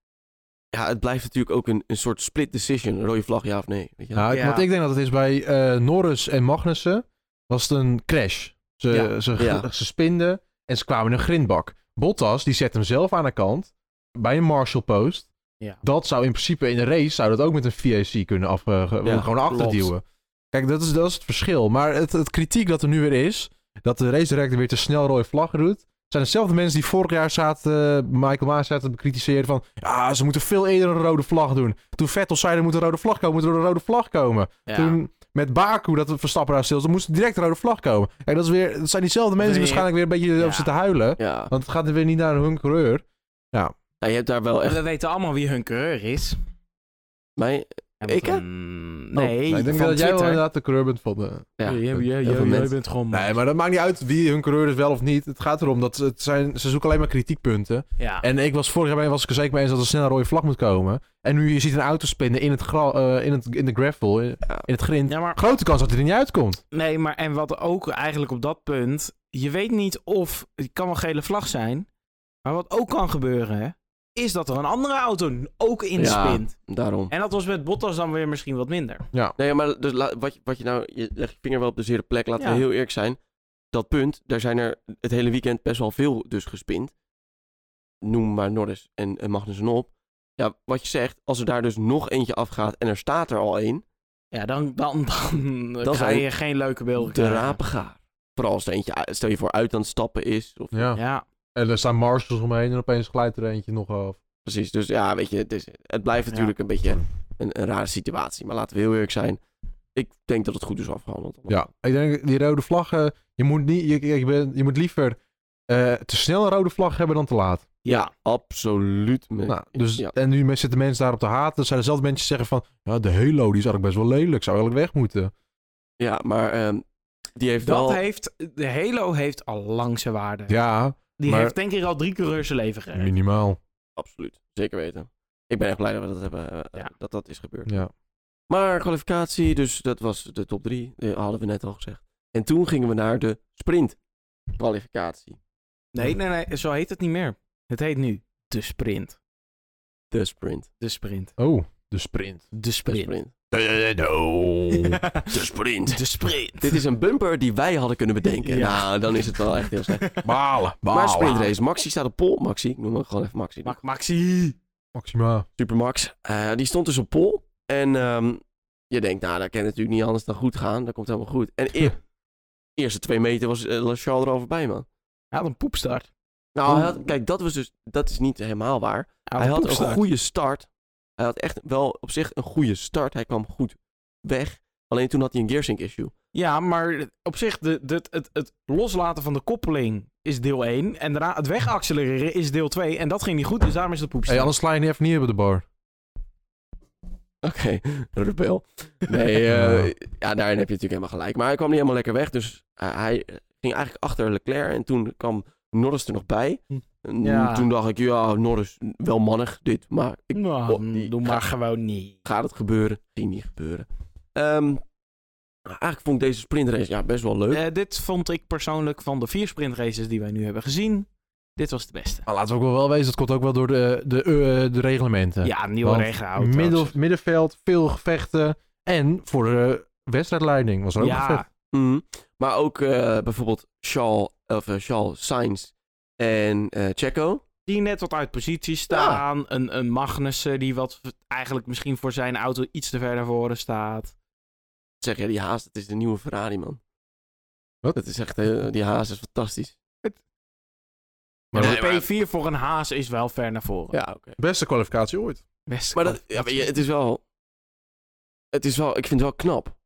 Speaker 1: Ja, het blijft natuurlijk ook een, een soort split decision. Een rode vlag, ja of nee. Weet je wel?
Speaker 2: Nou, ik-
Speaker 3: Ja.
Speaker 2: wat ik denk dat het is bij eh, Norris en Magnussen was het een crash. Ze,
Speaker 3: Ja.
Speaker 2: ze,
Speaker 1: Ja.
Speaker 2: ze spinden en ze kwamen in een grindbak. Bottas, die zet hem zelf aan de kant bij een marshal post.
Speaker 3: Ja.
Speaker 2: Dat zou in principe in de race zou dat ook met een VAC kunnen af, eh, ge-
Speaker 1: Ja,
Speaker 2: gewoon naar achter
Speaker 1: klopt.
Speaker 2: duwen. Kijk, dat is, dat is het verschil. Maar het, het kritiek dat er nu weer is, dat de race director weer te snel rode vlag doet, zijn dezelfde mensen die vorig jaar zaten, eh, Michael Maas zaten te bekritiseren van, ja, ze moeten veel eerder een rode vlag doen. Toen Vettel zei, er moet een rode vlag komen, moet er een rode vlag komen.
Speaker 3: Ja.
Speaker 2: Toen met Baku, dat we Verstappen daar stil, dan moest direct een rode vlag komen. En dat, is weer, dat zijn diezelfde mensen die
Speaker 3: Nee.
Speaker 2: waarschijnlijk weer een beetje
Speaker 3: Ja.
Speaker 2: over zitten huilen.
Speaker 1: Ja.
Speaker 2: Want het gaat er weer niet naar hun kleur.
Speaker 1: Nou, je hebt daar wel echt...
Speaker 3: We weten allemaal wie hun keur is.
Speaker 1: Mijn,
Speaker 3: En
Speaker 1: Ik, hè?
Speaker 3: van- Nee,
Speaker 2: Oh, nou, ik denk
Speaker 3: van
Speaker 2: dat jij wel
Speaker 3: Twitter.
Speaker 2: inderdaad de kleur bent van de...
Speaker 1: ja.
Speaker 3: Jij- jij- jij-
Speaker 1: heel veel
Speaker 3: jij
Speaker 1: mensen.
Speaker 3: bent gewoon...
Speaker 2: Nee, maar dat maakt niet uit wie hun kleur is wel of niet. Het gaat erom dat ze, het zijn, ze zoeken alleen maar kritiekpunten.
Speaker 3: Ja.
Speaker 2: En ik was vorig jaar mee- was ik er zeker mee eens dat er snel een rode vlag moet komen. En nu je ziet een auto spinnen in, het gra- eh, in, het, in de gravel, in,
Speaker 1: Ja.
Speaker 2: in het grind.
Speaker 3: ja, maar
Speaker 2: Grote kans dat hij er niet uitkomt.
Speaker 3: Nee, maar en wat ook eigenlijk op dat punt. Je weet niet of. Het kan wel gele vlag zijn. Maar wat ook kan gebeuren. hè, Is dat er een andere auto ook inspint.
Speaker 1: Daarom.
Speaker 3: En dat was met Bottas dan weer misschien wat minder.
Speaker 1: Nee, maar dus la- wat, je- wat je nou... Je legt je vinger wel op de zere plek. Laten
Speaker 3: Ja.
Speaker 1: we heel eerlijk zijn. Dat punt, daar zijn er het hele weekend best wel veel dus gespind. Noem maar Norris en, en Magnussen op. Ja, wat je zegt, als er daar dus nog eentje afgaat en er staat er al één,
Speaker 3: Ja, dan, dan, dan,
Speaker 1: Dan
Speaker 3: ga
Speaker 1: zijn
Speaker 3: je geen leuke beelden
Speaker 1: de
Speaker 3: krijgen.
Speaker 1: rapengaar. Vooral als er eentje, uit- stel je voor, uit aan het stappen is. Of,
Speaker 2: Ja.
Speaker 3: Ja.
Speaker 2: En er staan marshals omheen en opeens glijdt er eentje nog af.
Speaker 1: Precies, dus ja, weet je, het, is- het blijft
Speaker 3: Ja.
Speaker 1: natuurlijk een beetje een, een rare situatie. Maar laten we heel eerlijk zijn. Ik denk dat het goed is afgehandeld.
Speaker 2: Ja, ik denk die rode vlaggen. Je moet, niet, je, je, bent- je moet liever eh, te snel een rode vlag hebben dan te laat.
Speaker 1: Ja, absoluut. mee
Speaker 2: Nou, dus,
Speaker 1: ja.
Speaker 2: En nu zitten mensen daarop te haten. Er zijn dezelfde mensen die zeggen van... Ja, de Halo die is eigenlijk best wel lelijk. Zou eigenlijk weg moeten.
Speaker 1: Ja, maar ehm, die heeft
Speaker 3: Dat
Speaker 1: wel...
Speaker 3: heeft. De Halo heeft al lang zijn waarde.
Speaker 2: Ja,
Speaker 3: Die
Speaker 2: maar-
Speaker 3: heeft denk ik al drie coureurs zijn leven gered.
Speaker 2: minimaal.
Speaker 1: Absoluut, zeker weten. Ik ben echt blij dat we dat hebben, eh,
Speaker 3: Ja.
Speaker 1: dat, dat is gebeurd.
Speaker 2: Ja.
Speaker 1: Maar kwalificatie, dus dat was de top drie. eh, hadden we net al gezegd. En toen gingen we naar de sprint kwalificatie.
Speaker 3: Nee, nee, nee, zo heet het niet meer. Het heet nu de sprint.
Speaker 1: De sprint.
Speaker 3: De sprint.
Speaker 2: Oh, de sprint.
Speaker 3: De
Speaker 1: De
Speaker 3: sprint.
Speaker 1: sprint.
Speaker 2: Ja,
Speaker 1: De sprint.
Speaker 3: [LAUGHS] De sprint.
Speaker 1: Dit is een bumper die wij hadden kunnen bedenken.
Speaker 3: Ja.
Speaker 1: Nou, dan is het wel echt heel slecht.
Speaker 2: [LAUGHS]
Speaker 3: [LAUGHS]
Speaker 2: Balen, balen.
Speaker 1: Maar sprintrace. Maxi staat op pol. Maxi, ik noem hem gewoon even Maxi.
Speaker 3: Max- Maxi.
Speaker 2: Maxima.
Speaker 1: Supermax. Eh, die stond dus op pol. En ehm, je denkt, nou, dat kan natuurlijk niet anders dan goed gaan. Dat komt helemaal goed.
Speaker 3: [LAUGHS]
Speaker 1: En e eerste twee meter was eh, Lachal er al voorbij, man.
Speaker 3: Hij had een poepstart.
Speaker 1: Nou, hij had- kijk, dat, was dus, dat is niet helemaal waar.
Speaker 3: Hij had,
Speaker 1: hij
Speaker 3: een
Speaker 1: had
Speaker 3: poepstart.
Speaker 1: een goede start. Hij had echt wel op zich een goede start. Hij kwam goed weg. Alleen toen had hij een gearsync issue.
Speaker 3: Ja, maar op zich, de, de, het, het loslaten van de koppeling is deel 1. En daarna het wegaccelereren is deel 2. En dat ging niet goed, dus daarom is het
Speaker 2: Hey,
Speaker 3: poepstart.
Speaker 2: anders sla je niet even neer bij de bar.
Speaker 1: Oké, [LAUGHS] rebel. Nee,
Speaker 3: [LAUGHS]
Speaker 1: eh, ja, daarin heb je natuurlijk helemaal gelijk. Maar hij kwam niet helemaal lekker weg. Dus eh, hij ging eigenlijk achter Leclerc. En toen kwam Norris er nog bij.
Speaker 3: Hm.
Speaker 1: En
Speaker 3: Ja.
Speaker 1: Toen dacht ik, ja, Norris, wel mannig dit. Maar ik
Speaker 3: Nou,
Speaker 1: Oh, die-
Speaker 3: doe maar gewoon niet.
Speaker 1: gaat het gebeuren? Ging niet gebeuren. Ehm, eigenlijk vond ik deze sprintrace ja, best wel leuk.
Speaker 3: Eh, dit vond ik persoonlijk van de vier sprintraces die wij nu hebben gezien. Dit was de beste.
Speaker 2: Maar laten we ook wel wezen, dat komt ook wel door de, de, eh, de reglementen.
Speaker 3: Ja, een nieuwe
Speaker 2: Want
Speaker 3: regenhout.
Speaker 2: Middel, middenveld, veel gevechten. En voor de wedstrijdleiding
Speaker 1: Oh,
Speaker 2: was er ook gevecht.
Speaker 3: Ja,
Speaker 1: Mhm. Maar ook eh, bijvoorbeeld Charles, of, eh, Charles Sainz en eh Checo.
Speaker 3: die net wat uit positie staan. Een, een Magnussen die wat v- eigenlijk misschien voor zijn auto iets te ver naar voren staat.
Speaker 1: Zeg je, die haas, dat is de nieuwe Ferrari, man.
Speaker 2: Wat?
Speaker 1: Dat is echt, eh, die haas is fantastisch.
Speaker 2: Maar
Speaker 1: Nee,
Speaker 2: dat-
Speaker 1: maar-
Speaker 3: P4 voor een haas is wel ver naar voren.
Speaker 1: Ja, oké.
Speaker 2: Beste kwalificatie ooit.
Speaker 3: Best
Speaker 1: Maar dat, ja, weet je, het is wel... Het is wel, ik vind het wel knap.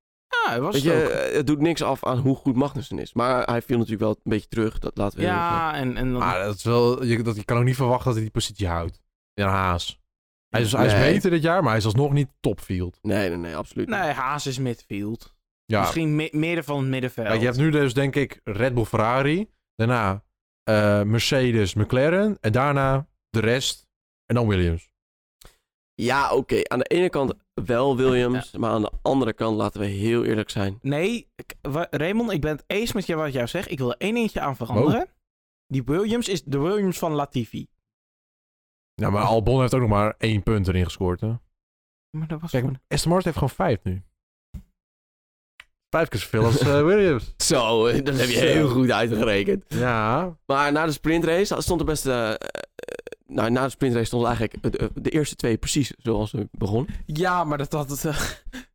Speaker 3: Ja, was
Speaker 1: Weet
Speaker 3: het
Speaker 1: je,
Speaker 3: ook.
Speaker 1: eh, het doet niks af aan hoe goed Magnussen is. Maar hij viel natuurlijk wel een beetje terug, dat laten we eerlijk zijn.
Speaker 3: Ja, en, en dan-
Speaker 2: Maar dat is wel, je, dat, je kan ook niet verwachten dat hij die positie houdt. Ja, Haas. Hij is, hij
Speaker 1: Nee.
Speaker 2: is beter dit jaar, maar hij is alsnog niet topfield.
Speaker 1: Nee, nee, nee, absoluut niet.
Speaker 3: Nee, Haas is midfield.
Speaker 2: Ja,
Speaker 3: Misschien mi- midden van het middenveld.
Speaker 2: Kijk, je hebt nu dus denk ik Red Bull Ferrari. Daarna eh, Mercedes McLaren. En daarna de rest. En dan Williams.
Speaker 1: Ja, oké. Aan de ene kant wel Williams, maar aan de andere kant laten we heel eerlijk zijn.
Speaker 3: Nee, ik- wa- Raymond, ik ben het eens met jou wat jou zegt. Ik wil er één eentje aan veranderen. Die Williams is de Williams van Latifi.
Speaker 2: Ja, maar Albon heeft ook nog maar één punt erin gescoord. Hè?
Speaker 3: Maar dat was
Speaker 2: Kijk,
Speaker 3: gewoon...
Speaker 2: Aston Martin heeft gewoon vijf nu. Vijf keer zoveel als [LAUGHS] eh, Williams.
Speaker 1: Zo, eh, dat heb je
Speaker 2: Zo.
Speaker 1: heel goed uitgerekend.
Speaker 2: Ja.
Speaker 1: Maar na de sprintrace stond de beste... eh, eh, nou, na de sprintrace stonden eigenlijk eh, de, de eerste twee precies zoals we begon.
Speaker 3: Ja, maar dat had het... eh,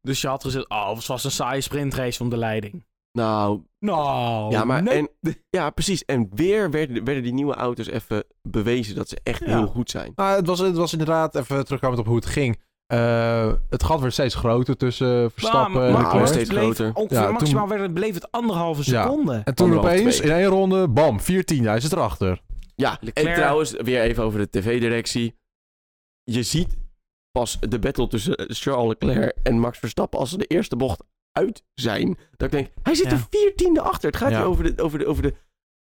Speaker 3: dus je had gezegd, oh, het was een saaie sprintrace om de leiding.
Speaker 1: Nou,
Speaker 3: Nou,
Speaker 1: ja, maar,
Speaker 3: nee.
Speaker 1: en, ja, precies. En weer werden, werden die nieuwe auto's even bewezen dat ze echt
Speaker 3: Ja.
Speaker 1: heel goed zijn.
Speaker 2: Nou, het, was, het was inderdaad, even terugkomend op hoe het ging. Eh, het gat werd steeds groter tussen eh, Verstappen
Speaker 3: maar,
Speaker 2: en
Speaker 1: maar
Speaker 3: maar
Speaker 2: Leclerc.
Speaker 1: steeds
Speaker 3: het bleef
Speaker 1: groter.
Speaker 3: ongeveer
Speaker 2: Ja,
Speaker 3: maximaal werd het, bleef het anderhalve
Speaker 2: Ja.
Speaker 3: seconde.
Speaker 2: En toen
Speaker 1: Anderhalf,
Speaker 2: opeens,
Speaker 1: twee.
Speaker 2: in één ronde, bam, 14. Hij zit erachter.
Speaker 1: Ja,
Speaker 3: Leclerc-
Speaker 1: en trouwens, weer even over de tv-directie. Je ziet pas de battle tussen eh, Charles Leclerc en Max Verstappen als ze de eerste bocht uit zijn. Dat ik denk, hij zit
Speaker 3: Ja.
Speaker 1: er viertiende achter. Het gaat
Speaker 2: Ja.
Speaker 1: hier over de, over de, over de,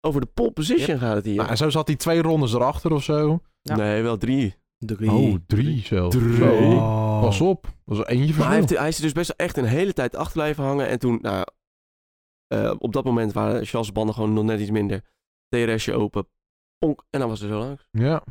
Speaker 1: over de pole position gaat het hier.
Speaker 2: Nou, en zo zat hij twee rondes erachter of zo.
Speaker 3: Ja.
Speaker 1: Nee, wel drie.
Speaker 3: Drie.
Speaker 2: Oh, drie zelfs.
Speaker 1: Drie.
Speaker 2: Zo. Pas op, dat is eentje
Speaker 1: Maar hij,
Speaker 2: van.
Speaker 1: heeft, hij is er dus best wel echt een hele tijd achter blijven hangen. En toen, nou, eh, op dat moment waren Charles' banden gewoon nog net iets minder. DRSje open, ponk, en dan was hij zo langs.
Speaker 2: Ja.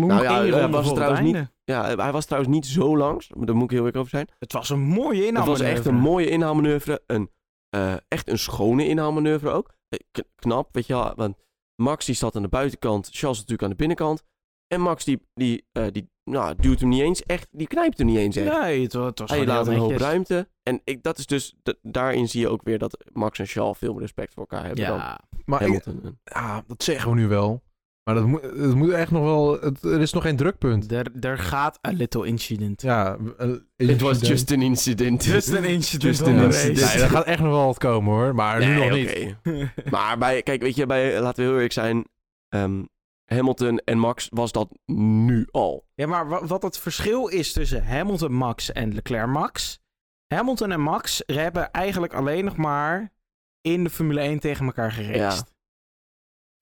Speaker 1: Nou ja,
Speaker 3: Eén
Speaker 1: eh,
Speaker 3: ronde
Speaker 1: was
Speaker 3: voor
Speaker 1: trouwens
Speaker 3: het
Speaker 1: niet-
Speaker 3: einde.
Speaker 1: Ja, eh, hij was trouwens niet zo langs, maar daar moet ik heel eerlijk over zijn.
Speaker 3: Het was een mooie inhaalmanoeuvre.
Speaker 1: Het was echt een mooie inhaalmanoeuvre. Een, eh, echt een schone inhaalmanoeuvre ook. Eh, k- knap, weet je wel. Want Max die zat aan de buitenkant, Charles natuurlijk aan de binnenkant. En Max die, die, eh, die nou, duwt hem niet eens echt, die knijpt hem niet eens echt.
Speaker 3: Nee, het, wa- het was
Speaker 1: Hij
Speaker 3: gewoon
Speaker 1: Ah, laat
Speaker 3: heel
Speaker 1: een hoop
Speaker 3: netjes.
Speaker 1: ruimte. En ik, dat is dus, da- daarin zie je ook weer dat Max en Charles veel meer respect voor elkaar hebben dan
Speaker 3: Ja,
Speaker 2: Maar ik-
Speaker 1: Hamilton. en-
Speaker 2: ja, dat zeggen we nu wel. Maar dat moet, het moet echt nog wel... Het, er is nog geen drukpunt.
Speaker 3: er, er gaat a little incident. [LAUGHS]
Speaker 2: Ja. eh,
Speaker 1: It was just an incident.
Speaker 3: Just an [LAUGHS] incident.
Speaker 1: Just
Speaker 3: on
Speaker 1: an
Speaker 3: the
Speaker 1: incident.
Speaker 2: Nee,
Speaker 3: race.
Speaker 2: er gaat echt nog wel wat komen hoor. Maar nu
Speaker 1: Nee,
Speaker 2: nog niet.
Speaker 1: oké. [LAUGHS] Maar bij, kijk, weet je, bij, laten we heel eerlijk zijn. ehm, Hamilton en Max was dat nu al.
Speaker 3: [LAUGHS] Ja, maar wa- wat het verschil is tussen Hamilton Max en Leclerc Max. Hamilton en Max hebben eigenlijk alleen nog maar in de Formule 1 tegen elkaar geraced.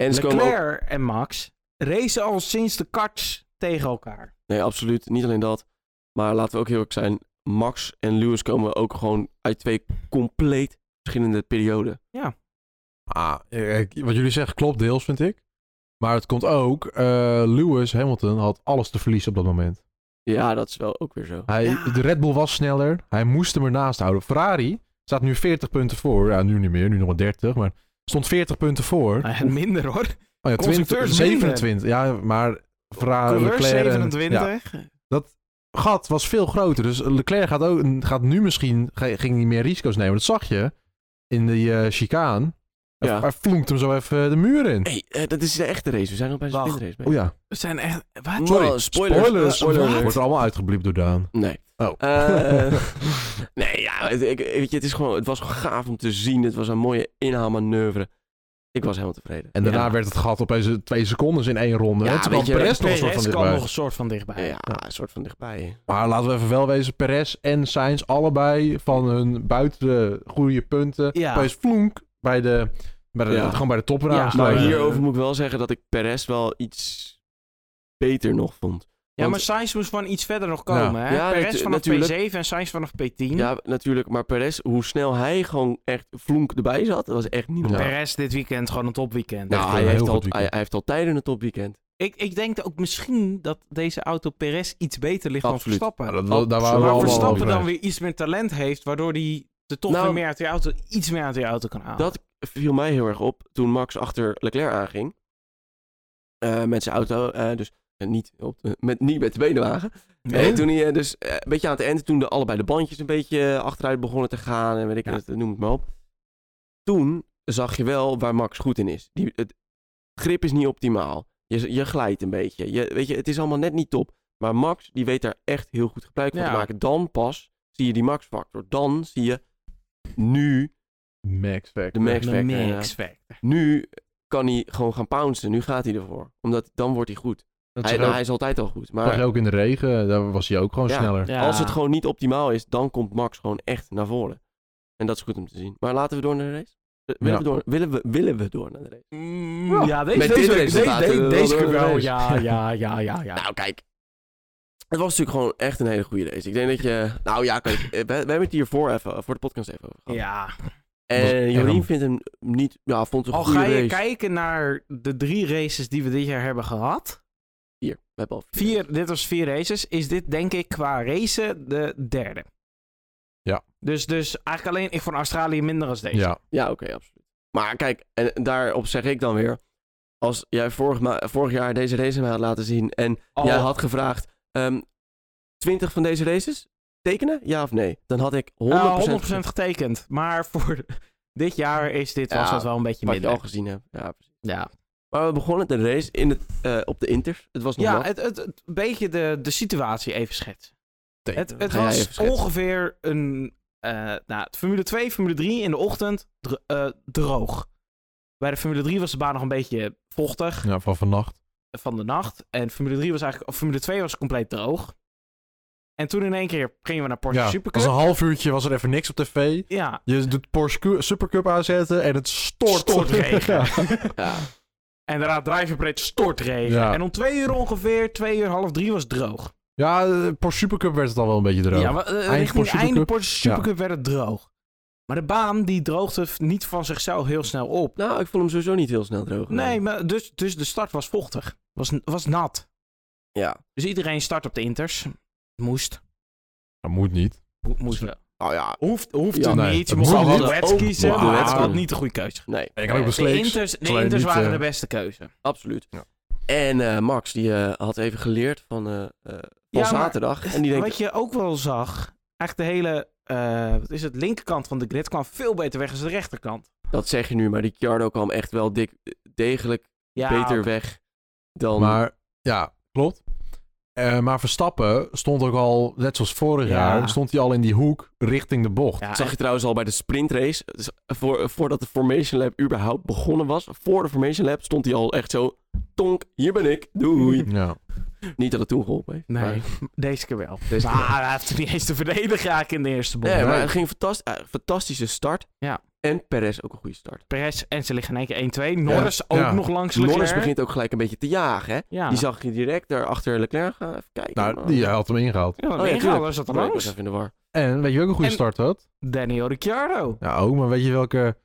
Speaker 1: En ze komen ook-
Speaker 3: Leclerc en Max racen al sinds de karts tegen
Speaker 1: [LAUGHS]
Speaker 3: elkaar.
Speaker 1: Nee, absoluut. Niet alleen dat. Maar laten we ook heel eerlijk zijn. Max en Lewis komen ook gewoon uit twee compleet verschillende perioden.
Speaker 2: Ah, eh, ik- wat jullie zeggen klopt deels, vind ik. Maar het komt ook, eh, Lewis Hamilton had alles te verliezen op dat moment.
Speaker 1: Ja, dat is wel ook weer zo.
Speaker 2: Hij,
Speaker 3: Ja.
Speaker 2: De Red Bull was sneller, hij moest hem ernaast houden. Ferrari staat nu 40 punten voor, ja nu niet meer, nu nog maar 30, maar stond 40 punten voor.
Speaker 3: Nou, minder hoor.
Speaker 2: Oh ja, 20,
Speaker 3: Constructeurs minder.
Speaker 2: 27, ja, maar Ferrari,
Speaker 3: Coureur
Speaker 2: Leclerc... en- ja.
Speaker 3: 27.
Speaker 2: gat was veel groter. Dus Leclerc gaat, ook, gaat nu misschien ge- ging niet meer risico's nemen. Dat zag je in die eh chicaan.
Speaker 1: Ja.
Speaker 2: Hij vloemt hem zo even de muur in.
Speaker 1: hey, eh, dat is de echte race. We zijn al bij de
Speaker 3: Wacht.
Speaker 1: sprintrace.
Speaker 2: Oh ja,
Speaker 3: We zijn echt... Wat?
Speaker 1: Sorry,
Speaker 2: sorry.
Speaker 1: spoilers.
Speaker 2: Spoilers.
Speaker 1: Spoilers.
Speaker 2: Wordt er allemaal uitgebliept door Daan.
Speaker 1: Nee.
Speaker 2: Oh.
Speaker 1: Eh, [LAUGHS]
Speaker 2: [LAUGHS]
Speaker 1: nee, ja, het, ik, weet je, het, is gewoon, het was gewoon gaaf om te zien. Het was een mooie inhaalmanoeuvre. Ik was helemaal tevreden.
Speaker 2: en daarna
Speaker 1: Ja.
Speaker 2: werd het gat opeens twee seconden in één ronde.
Speaker 1: Ja,
Speaker 2: en toen
Speaker 1: weet
Speaker 2: kwam
Speaker 1: je,
Speaker 2: Perez nog een
Speaker 3: Perez
Speaker 2: soort van
Speaker 3: kan
Speaker 2: dichtbij.
Speaker 3: nog een soort van dichtbij.
Speaker 1: Ja, een soort van dichtbij.
Speaker 2: Maar laten we even wel wezen. Perez en Sainz, allebei van hun buiten de goede punten.
Speaker 3: Ja.
Speaker 2: Opeens vloenk bij de, bij de,
Speaker 1: Ja.
Speaker 2: gewoon bij de topraad.
Speaker 1: maar
Speaker 3: Ja, maar, eh,
Speaker 2: Nou,
Speaker 1: hierover moet ik wel zeggen dat ik Perez wel iets beter nog vond.
Speaker 3: Ja,
Speaker 1: Want-
Speaker 3: maar Sainz moest van iets verder nog komen. Hè?
Speaker 1: Ja,
Speaker 3: Perez
Speaker 1: natu-
Speaker 3: vanaf
Speaker 1: natuurlijk.
Speaker 3: P7 en Sainz vanaf P10.
Speaker 1: Ja, natuurlijk. Maar Perez, hoe snel hij gewoon echt flonk erbij zat, dat was echt niet normaal.
Speaker 3: Perez dit weekend gewoon een topweekend.
Speaker 1: Nou,
Speaker 2: Echt een
Speaker 1: hij,
Speaker 2: heel
Speaker 1: heeft
Speaker 2: goed
Speaker 1: al,
Speaker 2: weekend.
Speaker 1: hij, hij heeft al tijden een topweekend.
Speaker 3: Ik, ik denk ook misschien dat deze auto Perez iets beter ligt
Speaker 1: Absoluut.
Speaker 3: dan Verstappen.
Speaker 2: Ja, dat- dat- daar waren we
Speaker 1: Maar
Speaker 3: maar
Speaker 2: allemaal
Speaker 3: Verstappen
Speaker 2: over
Speaker 3: dan
Speaker 2: eens.
Speaker 3: weer iets meer talent heeft, waardoor hij de toch
Speaker 1: Nou,
Speaker 3: weer meer uit die auto, iets meer uit die auto kan halen.
Speaker 1: Dat viel mij heel erg op toen Max achter Leclerc aanging. Eh, met zijn auto. eh, dus eh, niet, op, eh, met, niet met de benenwagen.
Speaker 3: Nee.
Speaker 1: Eh, toen hij eh, dus eh, een beetje aan het eind, toen de, allebei de bandjes een beetje eh, achteruit begonnen te gaan en weet ik
Speaker 3: Ja.
Speaker 1: het, noem het maar op. Toen zag je wel waar Max goed in is. Die, het grip is niet optimaal. Je, je glijdt een beetje. Je, weet je, het is allemaal net niet top. Maar Max, die weet daar echt heel goed gebruik van
Speaker 3: Ja.
Speaker 1: te maken. Dan pas zie je die Max-factor. Dan zie je nu
Speaker 2: Max
Speaker 1: de
Speaker 2: Factor.
Speaker 1: Max-factor.
Speaker 3: Een
Speaker 1: inderdaad.
Speaker 3: mix factor.
Speaker 1: Nu kan hij gewoon gaan pouncen. Nu gaat hij ervoor. Omdat dan wordt hij goed.
Speaker 2: Dat
Speaker 1: Hij,
Speaker 2: zag
Speaker 1: nou,
Speaker 2: ook-
Speaker 1: hij is altijd al goed.
Speaker 2: zag
Speaker 1: Maar
Speaker 2: je ook in de regen, daar was hij ook gewoon
Speaker 1: Ja.
Speaker 2: sneller.
Speaker 3: Ja.
Speaker 1: Als het gewoon niet optimaal is, dan komt Max gewoon echt naar voren. En dat is goed om te zien. Maar laten we door naar de race? Eh, Willen,
Speaker 2: Ja.
Speaker 1: we, door, willen, we, willen we door naar de race?
Speaker 3: Mm, ja, deze,
Speaker 1: Met
Speaker 3: deze,
Speaker 1: dit
Speaker 3: deze,
Speaker 1: resultaat,
Speaker 3: deze-
Speaker 1: eh,
Speaker 3: deze
Speaker 1: wel
Speaker 3: keer wel.
Speaker 1: door [LAUGHS] de
Speaker 3: Ja, ja, ja, ja, ja.
Speaker 1: Nou, kijk. Het was natuurlijk gewoon echt een hele goede race. Ik denk dat je... Nou ja, kijk. eh, We, we hebben het hiervoor even, eh, voor de podcast even over gehad.
Speaker 3: Ja. Oh,
Speaker 2: Was
Speaker 1: En
Speaker 2: echt
Speaker 1: Jorien
Speaker 2: een-
Speaker 1: vindt hem niet... Ja, vond het een
Speaker 3: Al
Speaker 1: goede
Speaker 3: ga je
Speaker 1: race.
Speaker 3: kijken naar de drie races die we dit jaar hebben gehad.
Speaker 1: Hier, we hebben al vier.
Speaker 3: Vier, dit was vier races. Is dit denk ik qua racen de derde.
Speaker 2: Ja.
Speaker 3: Dus, dus eigenlijk alleen, ik vond Australië minder als deze.
Speaker 2: Ja.
Speaker 1: Ja, oké, absoluut. Maar kijk, en daarop zeg ik dan weer... Als jij vorig, ma- vorig jaar deze race mij had laten zien... En
Speaker 3: Al-
Speaker 1: jij had gevraagd... ehm 20 van deze races tekenen? Ja of nee? Dan had ik 100%,
Speaker 3: Nou, 100%,
Speaker 1: gezegd.
Speaker 3: getekend. Maar voor [LAUGHS] dit jaar is dit,
Speaker 1: Ja,
Speaker 3: was dat wel een beetje
Speaker 1: Wat je
Speaker 3: minder.
Speaker 1: al gezien hebt. Ja, precies.
Speaker 3: Ja,
Speaker 1: Maar we begonnen de race in het, eh, op de Inters. Het was nog
Speaker 3: ja
Speaker 1: nat.
Speaker 3: het, het, het- een beetje de, de situatie even schetsen. Het, het
Speaker 1: Ga jij even
Speaker 3: was
Speaker 1: schetsen?
Speaker 3: ongeveer een... eh nou, Formule 2, Formule 3 in de ochtend dro- eh, droog. Bij de Formule 3 was de baan nog een beetje vochtig.
Speaker 2: ja, van vannacht.
Speaker 3: van de nacht. En Formule 3 was eigenlijk, of Formule 2 was compleet droog. En toen in één keer gingen we naar Porsche
Speaker 2: Ja,
Speaker 3: Supercup.
Speaker 2: was een half uurtje, was er even niks op tv.
Speaker 3: Ja,
Speaker 2: Je doet Porsche Cu- Supercup aanzetten en het stort. [LAUGHS]
Speaker 3: Stort regen.
Speaker 1: Ja.
Speaker 3: en daarna driverbreed stortregen.
Speaker 2: Ja.
Speaker 3: En om twee uur ongeveer, twee uur, half drie was het droog.
Speaker 2: Ja, eh, Porsche Supercup werd het al wel een beetje droog.
Speaker 3: Ja, maar, eh, richting
Speaker 2: Porsche
Speaker 3: einde
Speaker 2: Supercup.
Speaker 3: Porsche Supercup werd het droog. Maar de baan, die droogde f- niet van zichzelf heel snel op.
Speaker 1: Nou, ik vond hem sowieso niet heel snel droog.
Speaker 3: Nee, maar dus, dus de start was vochtig. Was, was nat.
Speaker 1: Ja.
Speaker 3: Dus iedereen start op de inters. Moest.
Speaker 2: Dat moet niet.
Speaker 3: Mo- Moest wel.
Speaker 1: Oh ja.
Speaker 3: Hoeft, hoeft
Speaker 1: Ja,
Speaker 3: het
Speaker 2: nee,
Speaker 3: niet. Je
Speaker 2: het
Speaker 3: moest
Speaker 2: moet
Speaker 3: wel
Speaker 2: niet.
Speaker 3: de wets
Speaker 1: Ook-
Speaker 3: kiezen.
Speaker 2: Wauw.
Speaker 3: De wets had niet de goede keuze.
Speaker 1: Nee.
Speaker 2: En je kan ook
Speaker 1: Nee,
Speaker 2: de
Speaker 3: De
Speaker 2: sleeks.
Speaker 3: Inters, de
Speaker 2: Alleen
Speaker 3: Inters
Speaker 2: niet,
Speaker 3: waren
Speaker 2: eh,
Speaker 3: de beste keuze.
Speaker 1: Absoluut.
Speaker 2: Ja.
Speaker 1: En eh, Max, die eh, had even geleerd van, eh, eh, van
Speaker 3: maar-
Speaker 1: zaterdag. En die denkt,
Speaker 3: Wat je ook wel zag, echt de hele eh, wat is het, linkerkant van de grid kwam veel beter weg dan de rechterkant.
Speaker 1: dat zeg je nu, maar Ricciardo kwam echt wel dik, eh, degelijk
Speaker 3: Ja,
Speaker 1: beter weg dan...
Speaker 2: Maar ja, klopt. Eh, maar Verstappen stond ook al, net zoals vorig
Speaker 3: Ja.
Speaker 2: jaar, stond hij al in die hoek richting de bocht.
Speaker 3: ja,
Speaker 1: Dat zag je trouwens al bij de sprintrace. Dus voor, voordat de Formation Lab überhaupt begonnen was, voor de Formation Lab stond hij al echt zo... Tonk, hier ben ik,
Speaker 3: [LAUGHS]
Speaker 1: doei.
Speaker 2: Ja. Nou,
Speaker 1: niet dat het toen geholpen heeft.
Speaker 3: Nee,
Speaker 1: maar-
Speaker 3: [LAUGHS] deze keer wel.
Speaker 1: Deze keer
Speaker 3: maar hij heeft het niet eens te verdedigen eigenlijk in de eerste bocht.
Speaker 1: Nee, maar
Speaker 2: Nee.
Speaker 1: het ging fantastisch, eh, fantastische start.
Speaker 3: Ja.
Speaker 1: En Perez ook een goede start.
Speaker 3: Perez en ze liggen in één keer 1-2. Norris ook
Speaker 2: Ja.
Speaker 3: nog langs Leclerc.
Speaker 1: Norris begint ook gelijk een beetje te jagen, hè?
Speaker 3: Ja.
Speaker 1: Die zag je direct daar achter Leclerc gaan. Even kijken.
Speaker 2: Nou,
Speaker 1: man.
Speaker 2: die had hem ingehaald.
Speaker 3: Ja,
Speaker 1: Oh ja,
Speaker 3: dat
Speaker 1: tuurlijk.
Speaker 3: was dat
Speaker 1: Sorry, ik was
Speaker 3: langs.
Speaker 1: even in de war.
Speaker 2: En weet je welke goede
Speaker 3: En-
Speaker 2: start had?
Speaker 3: Daniel Ricciardo.
Speaker 2: Ja, ook, maar weet je welke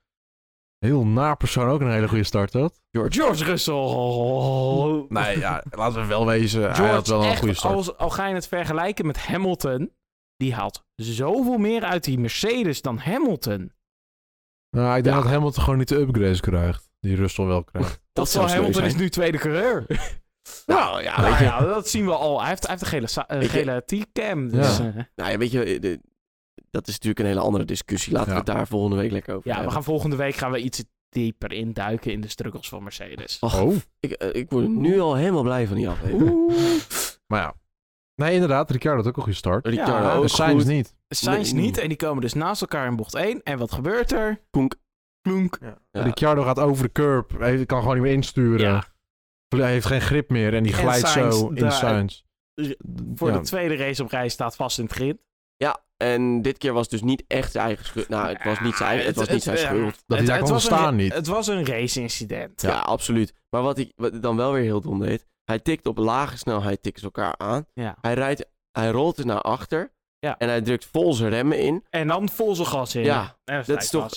Speaker 2: heel naar persoon ook een hele goede start had?
Speaker 3: George Russell.
Speaker 2: Nee, ja, laten we wel wezen. hij
Speaker 3: George,
Speaker 2: had wel een
Speaker 3: echt,
Speaker 2: goede start.
Speaker 3: Als, al ga je het vergelijken met Hamilton. Die haalt zoveel meer uit die Mercedes dan Hamilton.
Speaker 2: Nou, ik denk
Speaker 1: Ja.
Speaker 2: dat Hamilton gewoon niet de upgrades krijgt. Die Russell wel [LAUGHS] krijgt.
Speaker 1: Dat
Speaker 3: Terwijl
Speaker 1: zou sneu
Speaker 3: Hamilton
Speaker 1: zijn.
Speaker 3: is nu tweede coureur.
Speaker 1: Nou ja,
Speaker 3: Nou
Speaker 1: weet je.
Speaker 3: ja, dat zien we al. Hij heeft, hij heeft een gele, sa- een
Speaker 1: Weet je-
Speaker 3: gele T-cam. Dus, eh,
Speaker 1: Nou ja, weet je, eh, de- dat is natuurlijk een hele andere discussie. Laten we
Speaker 2: Ja.
Speaker 1: het daar volgende week lekker over
Speaker 3: ja, we
Speaker 1: hebben.
Speaker 3: gaan volgende week gaan we iets dieper induiken in de struggles van Mercedes.
Speaker 1: Och,
Speaker 2: Oh.
Speaker 1: ik, eh, ik word nu al helemaal blij van die aflevering.
Speaker 3: Oeh.
Speaker 2: Maar ja. Nee, inderdaad. Ricciardo had ook een goede start.
Speaker 1: Ricciardo
Speaker 3: Ja,
Speaker 1: ook
Speaker 2: Dus Sainz
Speaker 1: goed.
Speaker 2: niet.
Speaker 3: Sainz
Speaker 1: Nee.
Speaker 3: niet. En die komen dus naast elkaar in bocht 1. En wat gebeurt er?
Speaker 1: Klonk.
Speaker 3: Klonk.
Speaker 1: Ja.
Speaker 2: Ricciardo gaat over de curb. Hij kan gewoon niet meer insturen.
Speaker 3: Ja.
Speaker 2: Hij heeft geen grip meer. En die
Speaker 3: En
Speaker 2: glijdt
Speaker 3: Sainz
Speaker 2: zo in
Speaker 3: daar- Dus
Speaker 2: Sainz.
Speaker 3: Voor
Speaker 2: Ja.
Speaker 3: de tweede race op rij staat vast in het grind.
Speaker 1: Ja, en dit keer was het dus niet echt zijn eigen schuld. Nou, het was niet zijn, eigen, het was niet zijn
Speaker 3: eh,
Speaker 1: schuld.
Speaker 2: Dat hij daar kon
Speaker 3: was een-
Speaker 2: staan niet.
Speaker 3: Het was een race-incident.
Speaker 1: Ja, absoluut. Maar wat ik wat ik dan wel weer heel dom deed. Hij tikt op lage snelheid, tikken ze elkaar aan.
Speaker 3: Ja.
Speaker 1: Hij, rijdt, hij rolt er naar achter.
Speaker 3: Ja.
Speaker 1: En hij drukt vol zijn remmen in.
Speaker 3: En dan vol zijn gas in.
Speaker 1: Ja,
Speaker 3: En
Speaker 1: dat is toch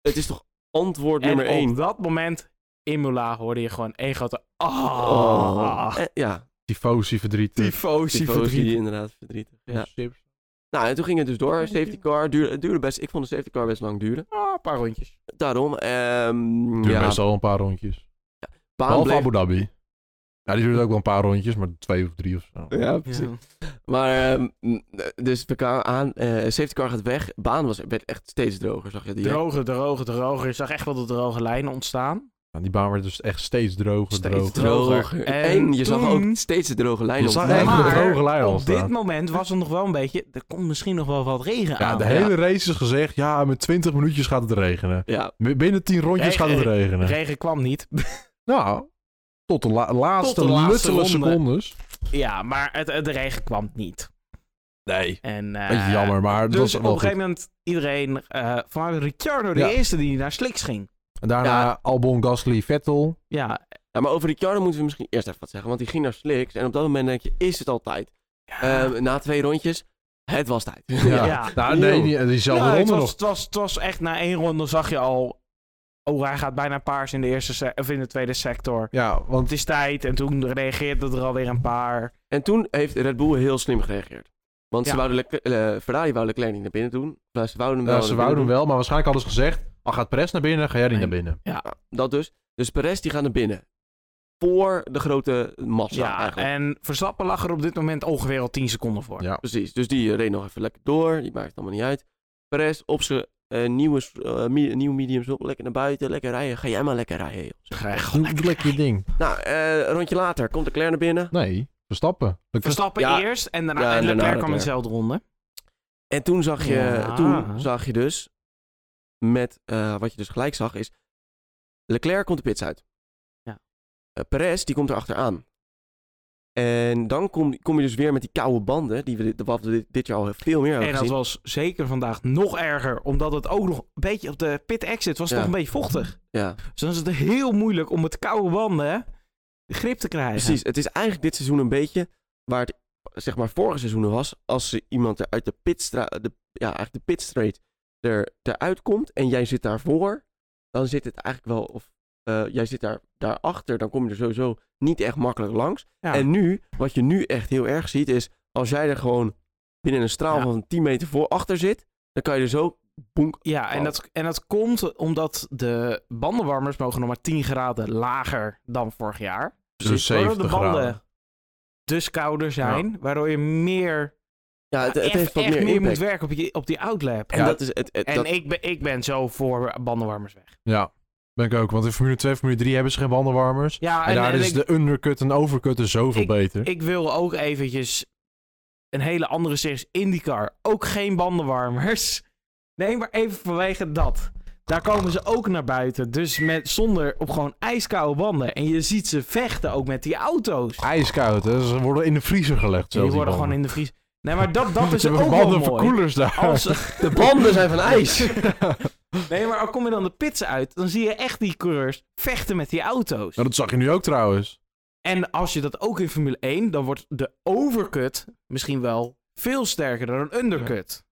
Speaker 1: Het is toch antwoord nummer
Speaker 3: en op
Speaker 1: 1.
Speaker 3: dat moment, Imola, hoorde je gewoon één grote... Ah,
Speaker 2: Oh.
Speaker 1: Ja,
Speaker 2: Tifosi verdriet.
Speaker 3: tifosi
Speaker 1: tifosi
Speaker 3: verdriet.
Speaker 1: inderdaad verdrietig. Ja.
Speaker 2: Chips.
Speaker 1: Nou, en toen ging het dus door. Safety car duurde, het duurde best. Ik vond de safety car best lang duren.
Speaker 3: Ah, een paar rondjes.
Speaker 1: Daarom, ehm
Speaker 2: Duurde
Speaker 1: ja,
Speaker 2: best al een paar rondjes.
Speaker 1: baan
Speaker 2: Behalve
Speaker 1: bleef-
Speaker 2: Abu Dhabi. Ja, die duurde ook wel een paar rondjes, maar twee of drie of zo.
Speaker 1: Ja, precies. Maar, ehm, n- dus we kwamen aan, eh, safety car gaat weg. Baan was, werd echt steeds droger, zag je die? hè?
Speaker 3: Droger, droger, droger. Je zag echt wel de droge lijnen ontstaan.
Speaker 2: Ja, die baan werd dus echt steeds droger,
Speaker 3: Steeds
Speaker 2: droger.
Speaker 1: droger.
Speaker 3: droger.
Speaker 1: En,
Speaker 3: En
Speaker 1: je zag
Speaker 3: toen-
Speaker 1: ook steeds de droge lijn
Speaker 2: Je
Speaker 1: op
Speaker 2: zag
Speaker 1: de
Speaker 2: echt
Speaker 1: baan.
Speaker 2: de
Speaker 3: Maar
Speaker 2: droge lijn al
Speaker 3: Op dit
Speaker 2: staan.
Speaker 3: moment was er nog wel een beetje... Er komt misschien nog wel wat regen
Speaker 2: Ja,
Speaker 3: aan.
Speaker 2: de hele race is gezegd, ja, met 20 minuutjes gaat het regenen.
Speaker 1: Ja,
Speaker 2: B- Binnen 10 rondjes
Speaker 3: Regen-
Speaker 2: gaat het regenen.
Speaker 3: regen kwam niet.
Speaker 2: nou, tot de la- laatste,
Speaker 3: Tot de laatste
Speaker 2: luttele
Speaker 3: ronde.
Speaker 2: secondes.
Speaker 3: ja, maar het, het- de regen kwam niet.
Speaker 2: Nee.
Speaker 3: En, eh,
Speaker 2: Beetje jammer, maar dat
Speaker 3: Dus
Speaker 2: was
Speaker 3: op
Speaker 2: wel
Speaker 3: een
Speaker 2: goed.
Speaker 3: gegeven moment iedereen... eh vanuit Ricciardo de
Speaker 2: Ja.
Speaker 3: eerste die naar Slicks ging.
Speaker 2: En daarna
Speaker 1: Ja.
Speaker 2: Albon, Gasly, Vettel.
Speaker 3: Ja,
Speaker 1: Ja, maar over Ricciardo moeten we misschien eerst even wat zeggen. Want die ging naar Slicks. En op dat moment denk je, is het al tijd? Ehm, na twee rondjes, het was tijd.
Speaker 2: Ja.
Speaker 3: Ja.
Speaker 2: Nou, nee, die, diezelfde
Speaker 3: Ja, het,
Speaker 2: ronde
Speaker 3: was,
Speaker 2: nog.
Speaker 3: Het, was, het was echt na één ronde zag je al. Oh, hij gaat bijna paars in de, eerste se- of in de tweede sector.
Speaker 2: Ja, want
Speaker 3: Het is tijd. En toen reageerde er alweer een paar.
Speaker 1: En toen heeft Red Bull heel slim gereageerd. Want ze
Speaker 3: Ja.
Speaker 1: wouden Leclerc- eh, Ferrari wou Leclerc niet naar binnen doen. Maar ze wouden hem wel
Speaker 2: eh, ze
Speaker 1: naar binnen
Speaker 2: wouden hem wel, maar waarschijnlijk hadden ze gezegd, al gaat Perez naar binnen, ga jij niet
Speaker 3: Nee.
Speaker 2: naar binnen.
Speaker 1: doen. Ja, dat dus. Dus Perez die gaat naar binnen. Voor de grote massa
Speaker 3: Ja, eh.
Speaker 1: eigenlijk.
Speaker 3: en Verstappen lag er op dit moment ongeveer al 10 seconden voor.
Speaker 2: Ja.
Speaker 1: Precies. Dus die eh, reed nog even lekker door. Die maakt het allemaal niet uit. Perez op zijn eh, nieuwe, s- eh, me- nieuwe mediums op. Lekker naar buiten. Lekker rijden. Ga jij maar lekker rijden. joh.
Speaker 3: Graag.
Speaker 2: Doe doe lekker je ding.
Speaker 1: Nou, eh, een rondje later komt Leclerc naar binnen.
Speaker 2: Nee, Verstappen. Dat-
Speaker 3: Verstappen
Speaker 1: Ja.
Speaker 3: eerst en daarna
Speaker 1: Ja,
Speaker 3: en
Speaker 1: en daarna
Speaker 3: Leclerc kwam in
Speaker 1: Leclerc.
Speaker 3: dezelfde ronde.
Speaker 1: En toen zag je,
Speaker 3: Ja.
Speaker 1: toen zag je dus, met, eh, wat je dus gelijk zag, is Leclerc komt de pits uit.
Speaker 3: Ja.
Speaker 1: Eh, Perez, die komt erachteraan. En dan kom, kom je dus weer met die koude banden, die we dit, wat we dit, dit jaar al veel meer hebben
Speaker 3: En dat
Speaker 1: gezien.
Speaker 3: was zeker vandaag nog erger, omdat het ook nog een beetje op de pit exit was
Speaker 1: Ja.
Speaker 3: nog een beetje vochtig.
Speaker 1: Ja,
Speaker 3: Dus dan is het heel moeilijk om met koude banden de grip te krijgen.
Speaker 1: precies. Het is eigenlijk dit seizoen een beetje waar het, zeg maar, vorige seizoenen was. Als ze iemand er uit de pitstra, de, ja, eigenlijk de pitstraight er, eruit komt en jij zit daarvoor, dan zit het eigenlijk wel, of eh, jij zit daar, daarachter, dan kom je er sowieso niet echt makkelijk langs.
Speaker 3: Ja.
Speaker 1: En nu, wat je nu echt heel erg ziet, is als jij er gewoon binnen een straal
Speaker 3: Ja.
Speaker 1: van 10 meter voor achter zit, dan kan je er zo boenk.
Speaker 3: Ja, en
Speaker 1: Oh.
Speaker 3: dat, en dat komt omdat de bandenwarmers mogen nog maar 10 graden lager dan vorig jaar.
Speaker 2: Dus
Speaker 3: Waardoor
Speaker 2: 70
Speaker 3: de banden
Speaker 2: graden.
Speaker 3: dus kouder zijn, waardoor je meer,
Speaker 1: Ja, het, het
Speaker 3: echt,
Speaker 1: heeft wat
Speaker 3: echt
Speaker 1: meer
Speaker 3: meer, moet
Speaker 1: impact.
Speaker 3: werken op, je, op die outlap.
Speaker 1: en
Speaker 3: Ja.
Speaker 1: dat is het. het-
Speaker 3: en
Speaker 1: dat-
Speaker 3: ik, ben, ik ben zo voor bandenwarmers weg.
Speaker 2: Ja, ben ik ook. Want in Formule 2 en Formule 3 hebben ze geen bandenwarmers.
Speaker 3: Ja,
Speaker 2: En,
Speaker 3: en,
Speaker 2: daar
Speaker 3: en
Speaker 2: is
Speaker 3: ik,
Speaker 2: de undercut en overcut er zoveel beter.
Speaker 3: ik wil ook eventjes een hele andere series IndyCar. Ook geen bandenwarmers. [LAUGHS] Nee, maar even vanwege dat. Daar komen ze ook naar buiten. Dus met, zonder op gewoon ijskoude banden. En je ziet ze vechten ook met die auto's.
Speaker 2: Ijskoud, hè. Ze worden in de vriezer gelegd.
Speaker 3: Die worden gewoon in de vries.
Speaker 2: [LAUGHS]
Speaker 3: Nee, maar dat, dat is
Speaker 2: Ze
Speaker 3: ook
Speaker 2: hebben
Speaker 3: wel
Speaker 2: banden voor [LAUGHS]
Speaker 3: mooi.
Speaker 2: koelers daar.
Speaker 3: Als,
Speaker 1: de banden zijn van ijs.
Speaker 3: [LAUGHS] Nee, maar al kom je dan de pits uit, dan zie je echt die coureurs vechten met die auto's.
Speaker 2: Nou, dat zag je nu ook trouwens.
Speaker 3: En als je dat ook in Formule 1, dan wordt de overcut misschien wel veel sterker dan een undercut.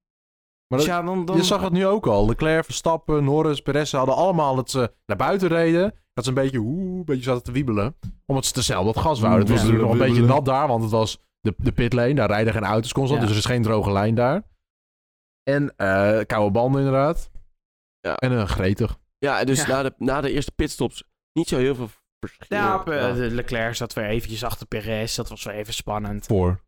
Speaker 2: Maar
Speaker 3: Dus
Speaker 2: dat-
Speaker 3: ja, dan, dan...
Speaker 2: Je zag het nu ook al. Leclerc, Verstappen, Norris, Perez ze hadden allemaal dat ze naar buiten reden. Dat ze een beetje, oeh, een beetje zaten te wiebelen. Omdat ze te snel wat gas wouden. Het was
Speaker 3: Ja.
Speaker 2: natuurlijk nog een beetje
Speaker 4: Wiebelen.
Speaker 2: nat daar, want het was de, de pitlane. Daar rijden geen auto's constant,
Speaker 3: Ja.
Speaker 2: dus er is geen droge lijn daar. En eh koude banden inderdaad.
Speaker 1: Ja.
Speaker 2: En eh, gretig.
Speaker 1: Ja, dus
Speaker 3: Ja.
Speaker 1: Na, de, na de eerste pitstops niet zo heel veel verschil.
Speaker 3: Ja, eh,
Speaker 1: Ja.
Speaker 3: de Leclerc zat weer eventjes achter Perez. Dat was weer even spannend.
Speaker 2: Voor.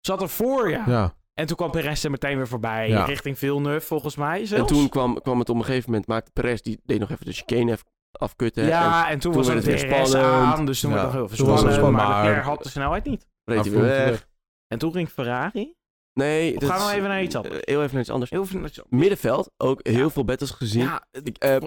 Speaker 3: Zat er voor, ja.
Speaker 2: Ja.
Speaker 3: En toen kwam Perez er meteen weer voorbij.
Speaker 2: Ja.
Speaker 3: Richting Villeneuve, volgens mij
Speaker 1: En
Speaker 3: zelfs.
Speaker 1: toen kwam, kwam het op een gegeven moment, maakte Perez, die deed nog even de chicane even afkutten. En
Speaker 3: ja, en toen,
Speaker 1: toen
Speaker 3: was
Speaker 1: werd
Speaker 3: het weer
Speaker 1: het weer
Speaker 3: Perez
Speaker 1: spannend.
Speaker 3: aan. Dus toen
Speaker 2: Ja,
Speaker 3: was het nog heel
Speaker 2: toen was
Speaker 3: veel
Speaker 2: het
Speaker 3: spannend. Maar,
Speaker 2: spannend, maar-
Speaker 3: Leclerc had de snelheid niet.
Speaker 1: reed hij
Speaker 2: Maar
Speaker 1: weer
Speaker 2: voelt-
Speaker 1: weg.
Speaker 3: En toen ging Ferrari.
Speaker 1: Nee,
Speaker 3: Of
Speaker 1: dat
Speaker 3: gaan we
Speaker 1: is-
Speaker 3: even naar iets anders?
Speaker 1: eh, Heel even naar iets anders.
Speaker 3: Heel veel...
Speaker 1: Middenveld, ook heel veel battles gezien.
Speaker 3: Ja,
Speaker 1: Ik, eh, eh,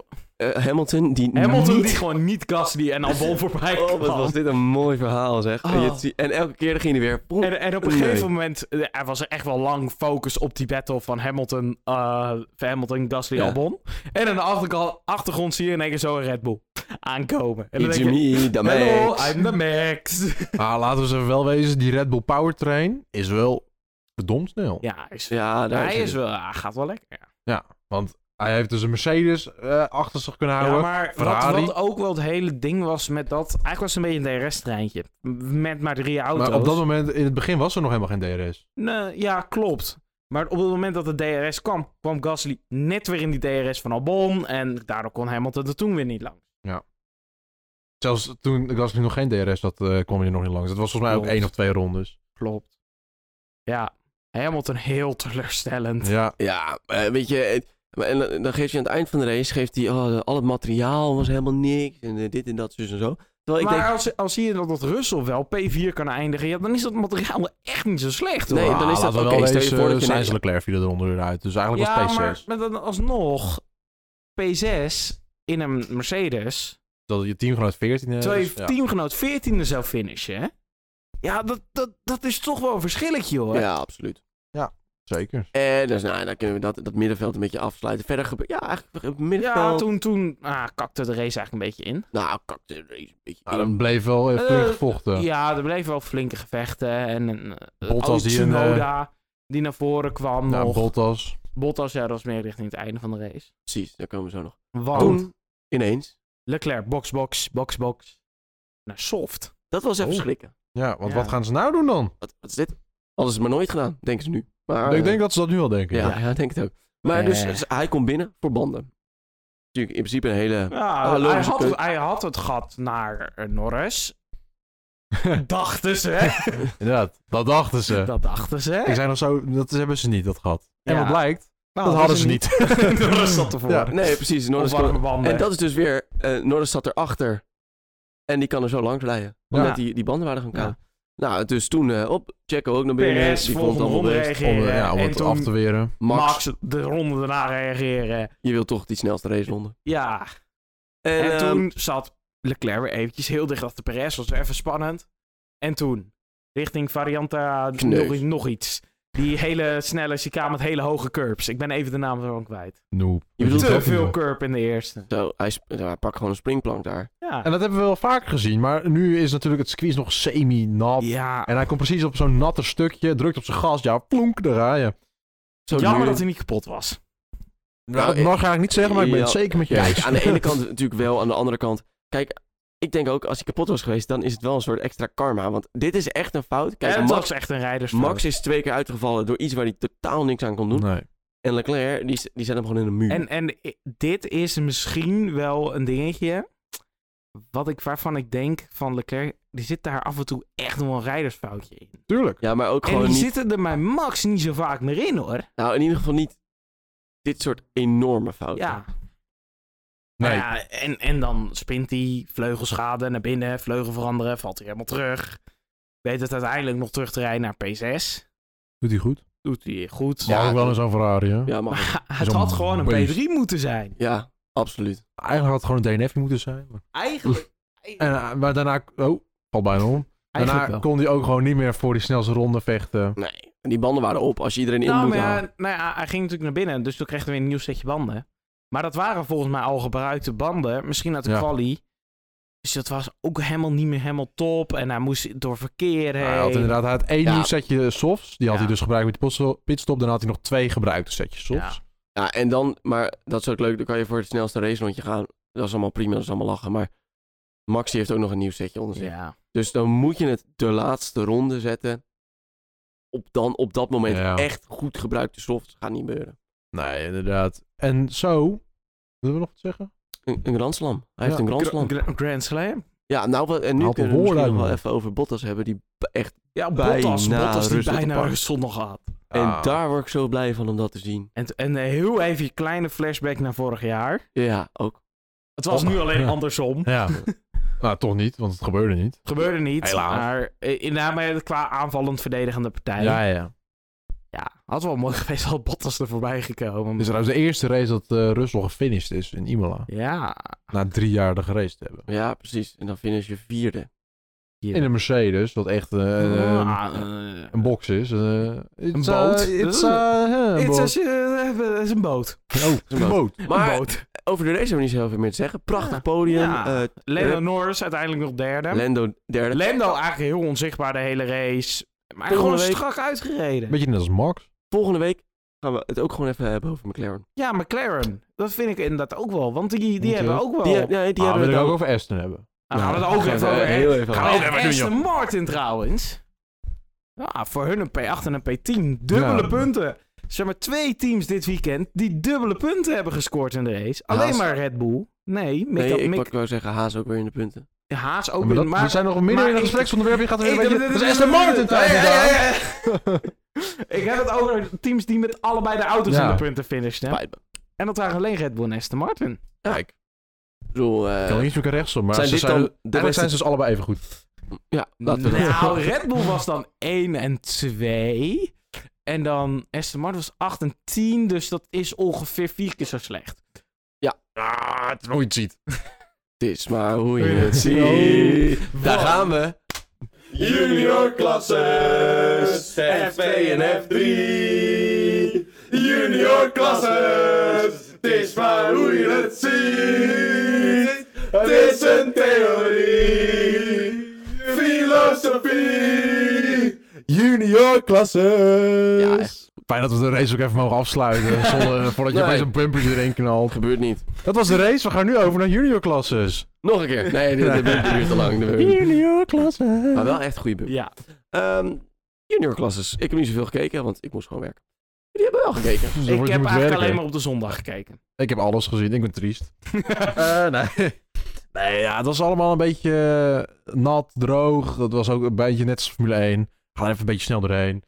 Speaker 1: Hamilton, die
Speaker 3: Hamilton
Speaker 1: niet...
Speaker 3: die gewoon niet Gasly en Albon voorbij
Speaker 1: Oh,
Speaker 3: kwam.
Speaker 1: wat was dit een mooi verhaal zeg.
Speaker 3: Oh.
Speaker 1: Je het zie- en elke keer ging hij weer... poem.
Speaker 3: En, en op een
Speaker 1: Nee.
Speaker 3: gegeven moment eh, er was er echt wel lang focus op die battle van Hamilton, eh, van Hamilton Gasly,
Speaker 1: Ja.
Speaker 3: Albon. En aan de achterkant, achtergrond zie je in één keer zo een Red Bull aankomen. En dan
Speaker 1: It's
Speaker 3: denk je,
Speaker 1: me, the
Speaker 3: hello,
Speaker 1: Max.
Speaker 3: I'm the Max.
Speaker 2: Maar Ah, laten we ze even wel wezen, die Red Bull powertrain is wel verdomd snel.
Speaker 3: ja, hij is,
Speaker 1: Ja, daar
Speaker 3: hij
Speaker 1: het.
Speaker 3: is wel, hij gaat wel lekker. Ja,
Speaker 2: Ja, want hij heeft dus een Mercedes eh, achter zich kunnen houden.
Speaker 3: maar wat,
Speaker 2: Ferrari.
Speaker 3: wat ook wel het hele ding was met dat, eigenlijk was het een beetje een DRS-treintje. Met maar drie auto's.
Speaker 2: maar op dat moment, in het begin was er nog helemaal geen DRS.
Speaker 3: Nee, ja, klopt. Maar op het moment dat de DRS kwam, kwam Gasly net weer in die DRS van Albon. En daardoor kon Hamilton er toen weer niet lang.
Speaker 2: Zelfs toen was er nog geen DRS, dat eh, kwam je nog niet langs. Dat was volgens mij ook
Speaker 3: Klopt.
Speaker 2: één of twee rondes.
Speaker 3: Klopt. Ja, Hamilton heel teleurstellend.
Speaker 2: Ja,
Speaker 1: Ja, eh, weet je... het- maar En dan- dan geeft hij aan het eind van de race, geeft hij, oh, al het materiaal was helemaal niks. En eh, dit en dat, dus en zo. Terwijl ik
Speaker 3: maar
Speaker 1: denk,
Speaker 3: als, als zie je dat, dat Russell wel P4 kan eindigen, ja, dan is dat materiaal echt niet zo slecht. Hoor.
Speaker 1: Nee, dan is dat-
Speaker 2: Ah, laten we
Speaker 1: oké,
Speaker 2: wel
Speaker 1: stel je
Speaker 2: wezen,
Speaker 1: voor dat je
Speaker 2: Sainz
Speaker 1: net-
Speaker 2: en Leclerc vielen eronder weer uit. Dus eigenlijk
Speaker 3: ja,
Speaker 2: was P6.
Speaker 3: maar met dan alsnog P6 in een Mercedes.
Speaker 2: Dat je teamgenoot 14 is.
Speaker 3: terwijl je
Speaker 2: eh, dus ja.
Speaker 3: teamgenoot 14e zou finishen. hè? Ja, dat, dat, dat is toch wel een verschilletje hoor.
Speaker 1: ja, absoluut.
Speaker 2: Zeker.
Speaker 1: En dus, nou, dan kunnen we dat, dat middenveld een beetje afsluiten. Verder gebeurt... Ja, eigenlijk het middenveld...
Speaker 3: Ja, toen, toen ah, kakte de race eigenlijk een beetje in.
Speaker 1: Nou, kak, er is een beetje...
Speaker 2: Nou, dan bleef wel even flink
Speaker 3: Eh,
Speaker 2: gevochten.
Speaker 3: Ja, er bleven wel flinke gevechten. En een eh,
Speaker 2: Bottas
Speaker 3: oh,
Speaker 2: die een, eh,
Speaker 3: Tsunoda die naar voren kwam
Speaker 2: Nou,
Speaker 3: nog.
Speaker 2: Bottas.
Speaker 3: Bottas, ja, dat was meer richting het einde van de race.
Speaker 1: Precies, daar komen we zo nog.
Speaker 3: Want
Speaker 2: Oh.
Speaker 1: Toen, ineens...
Speaker 3: Leclerc, box, box, box, box. Naar soft.
Speaker 1: Dat was even
Speaker 2: Oh.
Speaker 1: schrikken.
Speaker 2: Ja, want
Speaker 3: Ja.
Speaker 2: wat gaan ze nou doen dan?
Speaker 1: Wat, wat is dit? Hadden ze het maar nooit gedaan, denken ze nu. Maar,
Speaker 2: ik
Speaker 1: eh,
Speaker 2: denk dat ze dat nu al denken.
Speaker 1: Ja, ja, [LAUGHS] ik denk het ook. Maar
Speaker 3: Eh.
Speaker 1: dus, dus hij komt binnen voor banden. Natuurlijk in principe een hele...
Speaker 3: Ja,
Speaker 1: Ah,
Speaker 3: hij,
Speaker 1: logische
Speaker 3: had
Speaker 1: keuze.
Speaker 3: het, hij had het gat naar eh, Norris. [LAUGHS] dachten ze, hè?
Speaker 2: Inderdaad, dat dachten ze.
Speaker 3: Dat dachten ze.
Speaker 2: Ik zei nog zo, dat hebben ze niet, dat gat.
Speaker 1: Oh,
Speaker 2: En
Speaker 3: Ja.
Speaker 2: wat blijkt,
Speaker 3: Nou,
Speaker 2: dat hadden ze niet.
Speaker 1: [LAUGHS]
Speaker 2: [LAUGHS]
Speaker 3: [LAUGHS] Norris zat ervoor.
Speaker 2: Ja.
Speaker 1: Nee, precies.
Speaker 3: Op
Speaker 1: Norris
Speaker 3: warme
Speaker 1: kwam-
Speaker 3: banden.
Speaker 1: En dat is dus weer... eh Norris zat erachter. En die kan er zo langs rijden. Omdat
Speaker 3: Ja.
Speaker 1: die, die banden waren gaan
Speaker 2: Ja.
Speaker 1: koud. Nou, dus toen eh, op. Checo ook naar binnen.
Speaker 3: PRS
Speaker 1: die vond
Speaker 3: volgende
Speaker 1: het allemaal
Speaker 3: ronde
Speaker 1: best.
Speaker 2: Om,
Speaker 3: reageren.
Speaker 2: eh, ja, om
Speaker 3: en
Speaker 2: het
Speaker 3: toen
Speaker 2: af te weren.
Speaker 1: Max,
Speaker 3: Max. de ronde daarna reageren.
Speaker 1: je wilt toch die snelste race ronde.
Speaker 3: Ja,
Speaker 1: En,
Speaker 3: en,
Speaker 1: ehm,
Speaker 3: toen zat Leclerc weer eventjes heel dicht achter Perez. Was weer even spannend. En toen, richting Varianta
Speaker 1: Kneus.
Speaker 3: nog, nog iets. Die hele snelle chicane met hele hoge curbs. Ik ben even de naam ervan kwijt.
Speaker 2: Noep.
Speaker 1: Je bedoelt
Speaker 3: Te
Speaker 1: ook
Speaker 3: veel curb in de eerste.
Speaker 1: Zo, hij, sp- ja, hij pakt gewoon een springplank daar.
Speaker 3: Ja.
Speaker 2: En dat hebben we wel vaker gezien, maar nu is natuurlijk het squeeze nog semi-nat.
Speaker 3: ja.
Speaker 2: En hij komt precies op zo'n natte stukje, drukt op zijn gas, ja, plonk, daar ga je.
Speaker 1: Zo
Speaker 3: Jammer
Speaker 1: duur.
Speaker 3: dat hij niet kapot was.
Speaker 1: Nou,
Speaker 2: dat
Speaker 1: ik-
Speaker 2: mag eigenlijk niet zeggen, maar ik ben het
Speaker 1: Ja.
Speaker 2: zeker met je
Speaker 1: Kijk,
Speaker 2: eens.
Speaker 3: [LAUGHS]
Speaker 1: aan de ene kant natuurlijk wel, aan de andere kant. Kijk, ik denk ook als hij kapot was geweest, dan is het wel een soort extra karma. Want dit is echt een fout. Kijk,
Speaker 3: en het
Speaker 1: Max,
Speaker 3: was echt een rijdersfout.
Speaker 1: Max is twee keer uitgevallen door iets waar hij totaal niks aan kon doen.
Speaker 2: [LAUGHS] Nee.
Speaker 1: En Leclerc, die, die zet hem gewoon in een muur.
Speaker 3: Mm. En, en i- dit is misschien wel een dingetje. Wat ik, waarvan ik denk van Leclerc, die zit daar af en toe echt nog wel een rijdersfoutje in.
Speaker 2: Tuurlijk.
Speaker 1: ja, maar ook
Speaker 3: En
Speaker 1: gewoon
Speaker 3: die
Speaker 1: niet.
Speaker 3: zitten er bij Max niet zo vaak meer in hoor.
Speaker 1: Nou, in ieder geval niet dit soort enorme fouten.
Speaker 3: Ja.
Speaker 2: Nee.
Speaker 3: Nou Ja, en, en dan spint hij, vleugelschade naar binnen, vleugel veranderen, valt hij helemaal terug. Weet het uiteindelijk nog terug te rijden naar P6.
Speaker 2: Doet hij goed?
Speaker 3: Doet hij goed.
Speaker 1: Ja,
Speaker 2: Ja, ook wel in
Speaker 1: dat-
Speaker 2: zo'n Ferrari, hè?
Speaker 1: Ja, mag.
Speaker 3: [LAUGHS] Maar het
Speaker 2: Zo'n
Speaker 3: had gewoon een
Speaker 2: beest.
Speaker 3: P3 moeten zijn.
Speaker 1: Ja, absoluut.
Speaker 2: Eigenlijk had het gewoon een DNF moeten zijn. Maar,
Speaker 1: [LAUGHS]
Speaker 3: Eigenlijk.
Speaker 2: en, eh, maar daarna, oh, valt bijna om.
Speaker 3: Eigenlijk
Speaker 2: Daarna
Speaker 3: wel.
Speaker 2: kon hij ook gewoon niet meer voor die snelste ronde vechten.
Speaker 1: Nee, en die banden waren op als je iedereen in
Speaker 3: Nou,
Speaker 1: moet
Speaker 3: maar ja,
Speaker 1: halen.
Speaker 3: nou ja, hij ging natuurlijk naar binnen, dus toen kreeg hij weer een nieuw setje banden. Maar dat waren volgens mij al gebruikte banden. Misschien uit de
Speaker 2: Ja.
Speaker 3: quali. Dus dat was ook helemaal niet meer helemaal top. En hij moest door verkeer heen.
Speaker 2: Hij had inderdaad hij had één
Speaker 1: Ja.
Speaker 2: nieuw setje softs. Die had
Speaker 3: Ja.
Speaker 2: hij dus gebruikt met de potstop- pitstop. Daarna had hij nog twee gebruikte setjes softs.
Speaker 1: Ja, en dan, maar dat is ook leuk. Dan kan je voor het snelste race rondje gaan. Dat is allemaal prima, dat is allemaal lachen. Maar Maxi heeft ook nog een nieuw setje onder zich.
Speaker 3: Ja.
Speaker 1: Dus dan moet je het de laatste ronde zetten. Op, dan, op dat moment
Speaker 2: Ja.
Speaker 1: echt goed gebruikte soft. Gaat niet gebeuren.
Speaker 2: Nee, inderdaad. En zo... Willen we nog wat zeggen?
Speaker 1: Een, een Grand Slam. Hij heeft
Speaker 2: Ja.
Speaker 1: een Grand Slam.
Speaker 3: Gra- gra- Grand Slam.
Speaker 1: Ja, nou, wat- en nu
Speaker 2: Haalt de
Speaker 1: kunnen we misschien
Speaker 2: woorden
Speaker 1: nog wel
Speaker 2: uit,
Speaker 1: even over Bottas hebben. Die b- echt,
Speaker 3: Ja,
Speaker 1: Bijna
Speaker 3: Bottas. Bottas die
Speaker 1: rust op de
Speaker 3: bijna
Speaker 1: bank.
Speaker 3: Russell nog had.
Speaker 2: Ah.
Speaker 1: En daar word ik zo blij van om dat te zien.
Speaker 3: En, t- en eh, heel even een kleine flashback naar vorig jaar.
Speaker 1: Ja, ook.
Speaker 3: Het was
Speaker 2: Oh,
Speaker 3: nu
Speaker 2: [LAUGHS]
Speaker 3: alleen
Speaker 2: ja.
Speaker 3: andersom.
Speaker 1: [LAUGHS]
Speaker 2: Ja. nou, toch niet, want het gebeurde niet.
Speaker 3: Gebeurde niet.
Speaker 2: Helaas.
Speaker 3: Maar eh, inderdaad, maar qua aanvallend verdedigende partij.
Speaker 2: Ja, ja.
Speaker 3: Ja, had wel mooi [LAUGHS] geweest had Bottas er voorbij gekomen.
Speaker 2: Het is trouwens de eerste race dat eh Russell gefinished is in Imola.
Speaker 3: Ja.
Speaker 2: Na drie jaar er geraced te hebben.
Speaker 1: Ja, precies. En dan finish je vierde.
Speaker 3: Hier.
Speaker 2: In een Mercedes, wat echt eh, een-
Speaker 3: Ah, eh,
Speaker 2: een box is. eh it's a-
Speaker 3: boot?
Speaker 2: it's a- eh, een
Speaker 3: Het
Speaker 2: boot.
Speaker 3: is, eh, eh, het is een boot.
Speaker 2: Oh, een boot.
Speaker 1: Maar
Speaker 3: een boot.
Speaker 1: over de race hebben we niet zoveel meer te zeggen. Prachtig
Speaker 3: Ja.
Speaker 1: podium.
Speaker 3: Ja.
Speaker 1: eh,
Speaker 3: Lando Norris uiteindelijk nog derde.
Speaker 1: Lando derde.
Speaker 3: Lando eigenlijk heel onzichtbaar de hele race. Maar
Speaker 1: Volgende
Speaker 3: gewoon
Speaker 1: week-
Speaker 3: strak uitgereden.
Speaker 2: Beetje net als Max.
Speaker 1: Volgende week gaan we het ook gewoon even hebben over McLaren.
Speaker 3: Ja, McLaren. Dat vind ik inderdaad ook wel. Want die, die
Speaker 2: Moet
Speaker 3: hebben
Speaker 2: het.
Speaker 3: ook wel...
Speaker 1: Die, he- nee, die
Speaker 2: Die ah,
Speaker 1: hebben
Speaker 2: wil
Speaker 1: we
Speaker 2: ik
Speaker 1: dan-
Speaker 2: ook over Aston hebben.
Speaker 3: Ah, gaan we
Speaker 2: Nou,
Speaker 3: het ook
Speaker 1: gaan
Speaker 3: even
Speaker 1: we
Speaker 3: over
Speaker 1: heel even
Speaker 3: Gaan we
Speaker 2: over
Speaker 3: over
Speaker 2: hebben,
Speaker 3: Aston Martin trouwens. Ja, voor hun een P8 en een P10. Dubbele
Speaker 2: Ja.
Speaker 3: punten. Zeg maar twee teams dit weekend die dubbele punten hebben gescoord in de race. Alleen
Speaker 1: Haas.
Speaker 3: maar Red Bull. Nee, Mick,
Speaker 1: Nee, ik
Speaker 3: Mick
Speaker 1: pak- wou zeggen Haas ook weer in de punten.
Speaker 3: Haas ook
Speaker 2: Ja, maar
Speaker 3: weer.
Speaker 2: dat, we zijn nog midden
Speaker 3: maar
Speaker 2: in een
Speaker 3: ik-
Speaker 2: gespreksonderwerp. Je gaat er weer
Speaker 3: Ik-
Speaker 2: een beetje... Dat is Aston Martin tijd
Speaker 3: Hey,
Speaker 2: gedaan.
Speaker 3: hey, hey, hey. Ik heb het over teams die met allebei de auto's
Speaker 2: Ja.
Speaker 3: in de punten finishen. hè.
Speaker 1: Spijt me.
Speaker 3: En dat waren alleen Red Bull en Aston Martin.
Speaker 2: Kijk,
Speaker 1: Ik bedoel, eh,
Speaker 2: ik kan links zoeken rechtsom, maar
Speaker 1: zijn
Speaker 2: ze
Speaker 1: dit
Speaker 2: zijn,
Speaker 1: dan de
Speaker 2: eigenlijk
Speaker 1: beste-
Speaker 2: zijn ze dus allebei even goed.
Speaker 1: ja, laten we
Speaker 2: [LAUGHS]
Speaker 1: dat-
Speaker 3: Nou, [LAUGHS] Red Bull was dan 1 en 2. En dan Aston Martin was 8 en 10. Dus dat is ongeveer vier keer zo slecht.
Speaker 2: Ah, het is hoe je het ziet.
Speaker 1: Het is maar hoe
Speaker 2: [LAUGHS]
Speaker 1: je
Speaker 3: Ja.
Speaker 1: het ziet. Daar gaan we.
Speaker 4: Junior klasses, F2 en F3. Junior klasses, het is maar hoe je het ziet. Het is een theorie, filosofie. Junior klasses.
Speaker 1: Ja, echt.
Speaker 2: Fijn dat we de race ook even mogen
Speaker 1: [LAUGHS]
Speaker 2: afsluiten. zonder, eh, voordat je
Speaker 1: Nee.
Speaker 2: opeens een bumpertje erin knalt.
Speaker 1: gebeurt niet.
Speaker 2: Dat was de race. We gaan nu over naar junior classes.
Speaker 1: Nog een keer. Nee, dit, dit duurt- dit duurt te
Speaker 2: [LAUGHS]
Speaker 1: lang. Dit duurt-
Speaker 2: Junior classes.
Speaker 1: Maar wel echt goede bump.
Speaker 3: Ja.
Speaker 1: Ehm, junior classes. Ik heb niet zoveel gekeken, want ik moest gewoon werken. Jullie hebben wel gekeken.
Speaker 2: Dus dan
Speaker 3: Ik
Speaker 2: wordt-
Speaker 3: heb
Speaker 2: je moet
Speaker 3: eigenlijk
Speaker 2: werken.
Speaker 3: alleen maar op de zondag
Speaker 2: [LAUGHS]
Speaker 3: gekeken.
Speaker 2: Ik heb alles gezien. Ik ben triest. Eh, nee. [LAUGHS] Nee, ja, het was allemaal een beetje eh, nat, droog. Dat was ook een beetje net als Formule 1. Ga er even een beetje snel doorheen.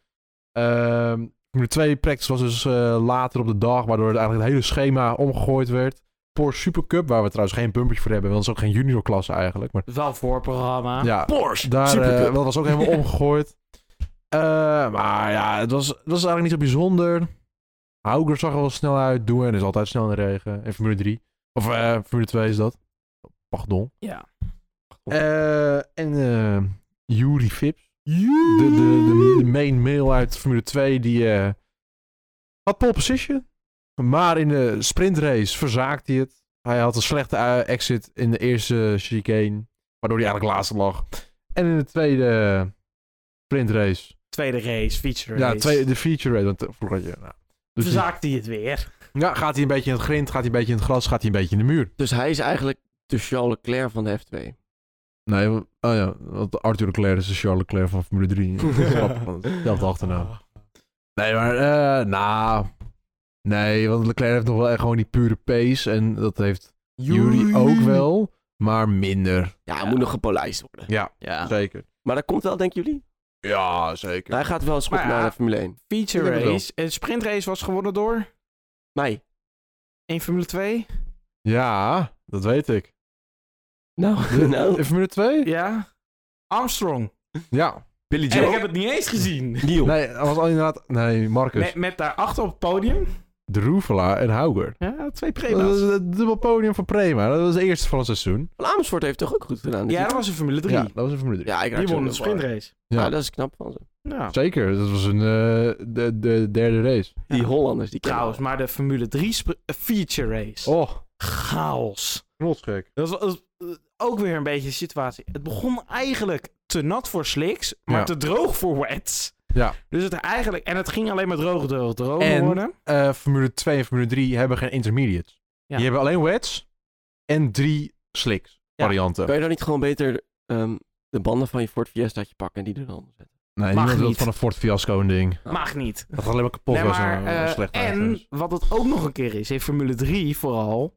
Speaker 2: Ehm Formule 2 practice was dus eh, later op de dag, waardoor het eigenlijk het hele schema omgegooid werd. Porsche Supercup, waar we trouwens geen bumpertje voor hebben, want dat is ook geen juniorklasse eigenlijk. Maar
Speaker 3: Wel voorprogramma.
Speaker 2: ja,
Speaker 1: Porsche.
Speaker 2: daar, eh,
Speaker 1: Supercup.
Speaker 2: dat was ook helemaal omgegooid. Eh, maar ja, het was, het was eigenlijk niet zo bijzonder. Hauger zag er wel snel uit. Doen is altijd snel in de regen. In Formule 3. Of eh, Formule 2 is dat. Pardon.
Speaker 3: Ja.
Speaker 2: Eh, en eh Yuri Vips. De, de, de, de main male uit Formule 2. Die eh, had pole position. Maar in de sprintrace verzaakte hij het. Hij had een slechte eh, exit in de eerste chicane. Waardoor hij eigenlijk laatste lag. En in de tweede sprintrace.
Speaker 3: Tweede race, feature race.
Speaker 2: Ja, twee, de feature race. Want eh, vroeger had je... Nou, dus die-
Speaker 3: Verzaakte hij het weer.
Speaker 2: ja, gaat hij een beetje in het grind, gaat hij een beetje in het gras, gaat hij een beetje in de muur.
Speaker 1: Dus hij is eigenlijk de Charles Leclerc van de F2.
Speaker 2: Nee, wa- oh ja, want Arthur Leclerc is de Charles Leclerc van Formule 3. Grappig, want hetzelfde achternaam.
Speaker 3: Ah.
Speaker 2: Nee, maar, eh, nou... nee, want Leclerc heeft nog wel echt gewoon die pure pace. En dat heeft Jury ook wel, maar minder.
Speaker 1: Ja, hij
Speaker 3: Ja.
Speaker 1: moet nog gepolijst worden.
Speaker 2: Ja,
Speaker 1: Ah.
Speaker 3: Ja.
Speaker 2: zeker.
Speaker 1: Maar dat komt wel, denken jullie?
Speaker 2: Ja, zeker.
Speaker 1: Hij gaat wel een schop
Speaker 3: Maar ja.
Speaker 1: naar de Formule 1.
Speaker 3: Feature
Speaker 2: Ik denk het
Speaker 3: race. En sprintrace was gewonnen door
Speaker 1: Mij.
Speaker 3: in Formule 2.
Speaker 2: Ja, dat weet ik.
Speaker 1: [LAUGHS] Nou, nou.
Speaker 2: In Formule 2?
Speaker 3: Ja. Armstrong.
Speaker 2: Ja.
Speaker 1: Billy
Speaker 3: En ik heb het niet eens gezien.
Speaker 1: Neil.
Speaker 2: Nee, dat was al inderdaad... Nee, Marcus.
Speaker 3: Met, met daarachter op het podium
Speaker 2: Droevela en Hauger.
Speaker 3: Ja, twee
Speaker 2: Dat
Speaker 3: prema's.
Speaker 2: was het dubbel podium voor Prema. Dat was de eerste van het seizoen.
Speaker 1: Van Amersfoort heeft toch ook goed gedaan? dit
Speaker 3: Ja, dat
Speaker 1: jaar?
Speaker 3: was een Formule 3.
Speaker 2: Ja, dat was een Formule 3.
Speaker 1: ja ik raak
Speaker 3: die
Speaker 1: zo
Speaker 3: won de
Speaker 1: door elkaar.
Speaker 3: sprintrace.
Speaker 1: dus Ja.
Speaker 2: Ja.
Speaker 1: dat is knap van ze.
Speaker 3: Ja.
Speaker 2: Zeker, dat was een, eh, de, de derde race.
Speaker 1: Die Hollanders, die kennen
Speaker 3: Trouwens, maar de Formule 3 spr- eh, feature race.
Speaker 2: Oh,
Speaker 3: Chaos.
Speaker 2: knotsgek.
Speaker 3: Dat was, dat was, eh, ook weer een beetje de situatie. Het begon eigenlijk te nat voor slicks, maar
Speaker 2: Ja.
Speaker 3: te droog voor wets.
Speaker 2: Ja.
Speaker 3: Dus het eigenlijk, en het ging alleen maar droog, droog, droog
Speaker 2: En-
Speaker 3: worden.
Speaker 2: Eh, Formule 2 en Formule 3 hebben geen intermediates.
Speaker 3: Ja.
Speaker 2: Die hebben alleen wets en drie slicks
Speaker 3: Ja.
Speaker 2: varianten.
Speaker 1: Kan je dan niet gewoon beter ehm, de banden van je Ford Fiestaatje pakken en die er dan [LAUGHS] zetten?
Speaker 2: Nee,
Speaker 3: Mag
Speaker 2: niemand wil
Speaker 3: niet.
Speaker 2: van een Ford Fiasco een ding.
Speaker 3: Mag niet.
Speaker 2: Dat gaat alleen maar kapot
Speaker 3: Nee,
Speaker 2: was
Speaker 3: maar,
Speaker 2: een,
Speaker 3: eh,
Speaker 2: slecht
Speaker 3: en wat het ook nog een keer is, in Formule 3 vooral,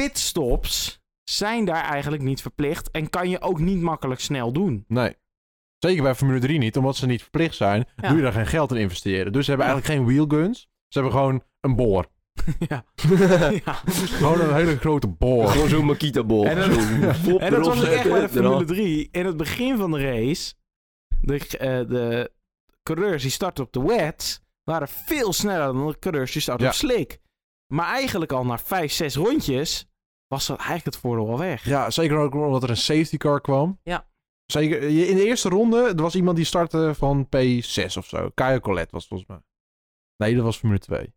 Speaker 3: pitstops zijn daar eigenlijk niet verplicht en kan je ook niet makkelijk
Speaker 2: [LAUGHS]
Speaker 3: snel doen.
Speaker 2: Nee. Zeker bij Formule 3 niet, omdat ze niet verplicht zijn,
Speaker 3: Ja.
Speaker 2: doe je daar geen geld in investeren. Dus ze hebben eigenlijk geen wheelguns, ze hebben gewoon een boor.
Speaker 3: ja. ja.
Speaker 2: gewoon een hele grote boor.
Speaker 1: Gewoon zo'n Makita-bol.
Speaker 3: En dat-
Speaker 1: [LAUGHS] Zo'n
Speaker 3: En dat was ook echt bij de Formule
Speaker 1: formule.
Speaker 3: 3. In het begin van de race, de, eh, de coureurs die starten op de wet, waren veel sneller dan de coureurs die starten
Speaker 2: Ja.
Speaker 3: op slick. Maar eigenlijk al na 5, 6 rondjes was dat eigenlijk het voordeel al weg.
Speaker 2: Ja, zeker ook omdat er een safety car kwam.
Speaker 3: Ja.
Speaker 2: Zeker, in de eerste ronde, er was iemand die startte van P6 of zo. Kaya Colette was het volgens mij. Nee, dat was Formule 2.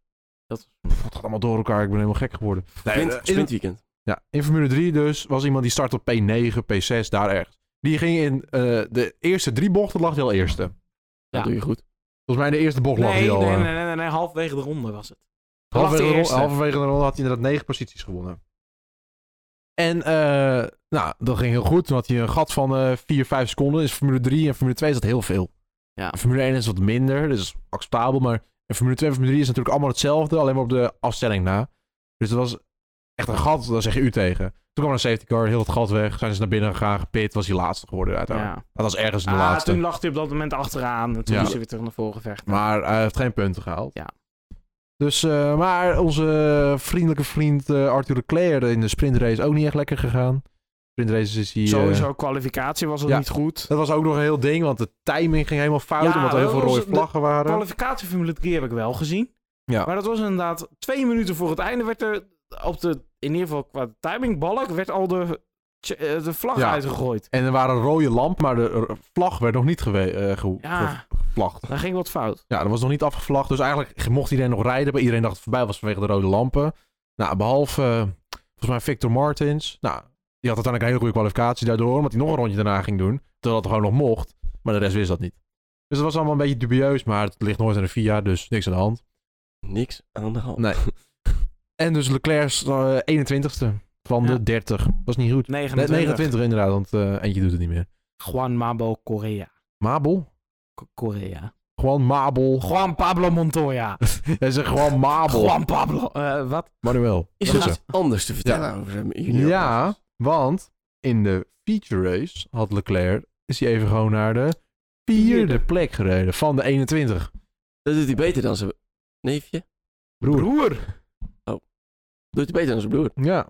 Speaker 3: Dat-
Speaker 2: Pff, het gaat allemaal door elkaar, ik ben helemaal gek geworden. Nee, eh, in-
Speaker 1: Sprintweekend.
Speaker 2: Ja, in Formule 3 dus was iemand die start op P9, P6, daar ergens. Die ging in eh, de eerste drie bochten lag hij al eerste.
Speaker 1: Dat
Speaker 3: Ja.
Speaker 1: doe je goed.
Speaker 2: Volgens mij in de eerste bocht lag
Speaker 3: Nee,
Speaker 2: hij al.
Speaker 3: nee,
Speaker 2: eh,
Speaker 3: nee, nee, nee, nee, halverwege de ronde was het. Hij lag de
Speaker 2: halverwege, de ronde,
Speaker 3: eerste.
Speaker 2: halverwege de ronde had hij inderdaad negen posities gewonnen. En eh, nou, dat ging heel goed. Toen had hij een gat van eh 4, 5 seconden. Dus Formule 3 en Formule 2 is dat heel veel.
Speaker 1: Ja.
Speaker 2: En Formule 1 is wat minder, dus acceptabel. Maar en Formule 2 en Formule 3 is natuurlijk allemaal hetzelfde, alleen maar op de afstelling na. Dus dat was echt een gat, daar zeg je u tegen. Toen kwam er een safety car, heel het gat weg. Zijn ze naar binnen gegaan, gepit, was hij laatste geworden uiteindelijk.
Speaker 3: Ja.
Speaker 2: Dat was ergens in de
Speaker 3: Ah,
Speaker 2: laatste.
Speaker 3: toen lag hij op dat moment achteraan. En toen
Speaker 2: Ja.
Speaker 3: moest hij weer terug naar voren gevechten.
Speaker 2: Maar hij heeft geen punten gehaald.
Speaker 3: Ja.
Speaker 2: Dus, eh, maar onze vriendelijke vriend eh, Arthur Leclerc in de sprintrace ook niet echt lekker gegaan. Sprintrace is hij... eh,
Speaker 3: Sowieso, kwalificatie was al
Speaker 2: ja.
Speaker 3: niet goed.
Speaker 2: dat was ook nog een heel ding, want de timing ging helemaal fout,
Speaker 3: Ja,
Speaker 2: omdat er heel
Speaker 3: dat
Speaker 2: veel
Speaker 3: was
Speaker 2: rode
Speaker 3: de-
Speaker 2: vlaggen waren.
Speaker 3: kwalificatie Formule 3 heb ik wel gezien.
Speaker 2: Ja.
Speaker 3: Maar dat was inderdaad twee minuten voor het einde werd er op de, in ieder geval qua timingbalk, werd al de, tje- eh, de vlag
Speaker 2: Ja.
Speaker 3: uitgegooid.
Speaker 2: En er waren rode lampen, maar de r- vlag werd nog niet gewe- eh, ge-
Speaker 3: Ja.
Speaker 2: ge- gevlagd.
Speaker 3: Daar ging wat fout.
Speaker 2: Ja, dat was nog niet afgevlagd, dus eigenlijk mocht iedereen nog rijden, maar iedereen dacht dat het voorbij was vanwege de rode lampen. Nou, behalve, eh, volgens mij Victor Martins. Nou, die had uiteindelijk een hele goede kwalificatie daardoor, omdat hij nog een rondje daarna ging doen. Terwijl dat gewoon nog mocht, maar de rest wist dat niet. Dus dat was allemaal een beetje dubieus, maar het ligt nooit aan de VIA, dus niks aan de hand.
Speaker 1: Niks aan de hand.
Speaker 2: Nee. En dus Leclerc's eh, 21ste van
Speaker 3: Ja.
Speaker 2: de 30. Dat is niet goed. Nee,
Speaker 3: 29.
Speaker 2: 29 inderdaad, want eh, eentje doet het niet meer.
Speaker 3: Juan Mabo Correa.
Speaker 2: Mabel?
Speaker 3: K- Correa.
Speaker 2: Gewoon Mabel.
Speaker 3: Juan Pablo [LAUGHS] Montoya.
Speaker 2: Hij zegt gewoon Mabel.
Speaker 3: Juan Pablo. eh, wat?
Speaker 2: Manuel.
Speaker 1: Is
Speaker 2: Dat
Speaker 1: er
Speaker 2: is
Speaker 1: iets anders te vertellen over hem?
Speaker 2: hem. Ja, want in de feature race had Leclerc, is hij even gewoon naar de vierde plek gereden van de 21.
Speaker 1: Dat doet hij beter dan zijn neefje.
Speaker 2: Broer.
Speaker 1: doet hij beter dan zijn broer.
Speaker 2: Ja.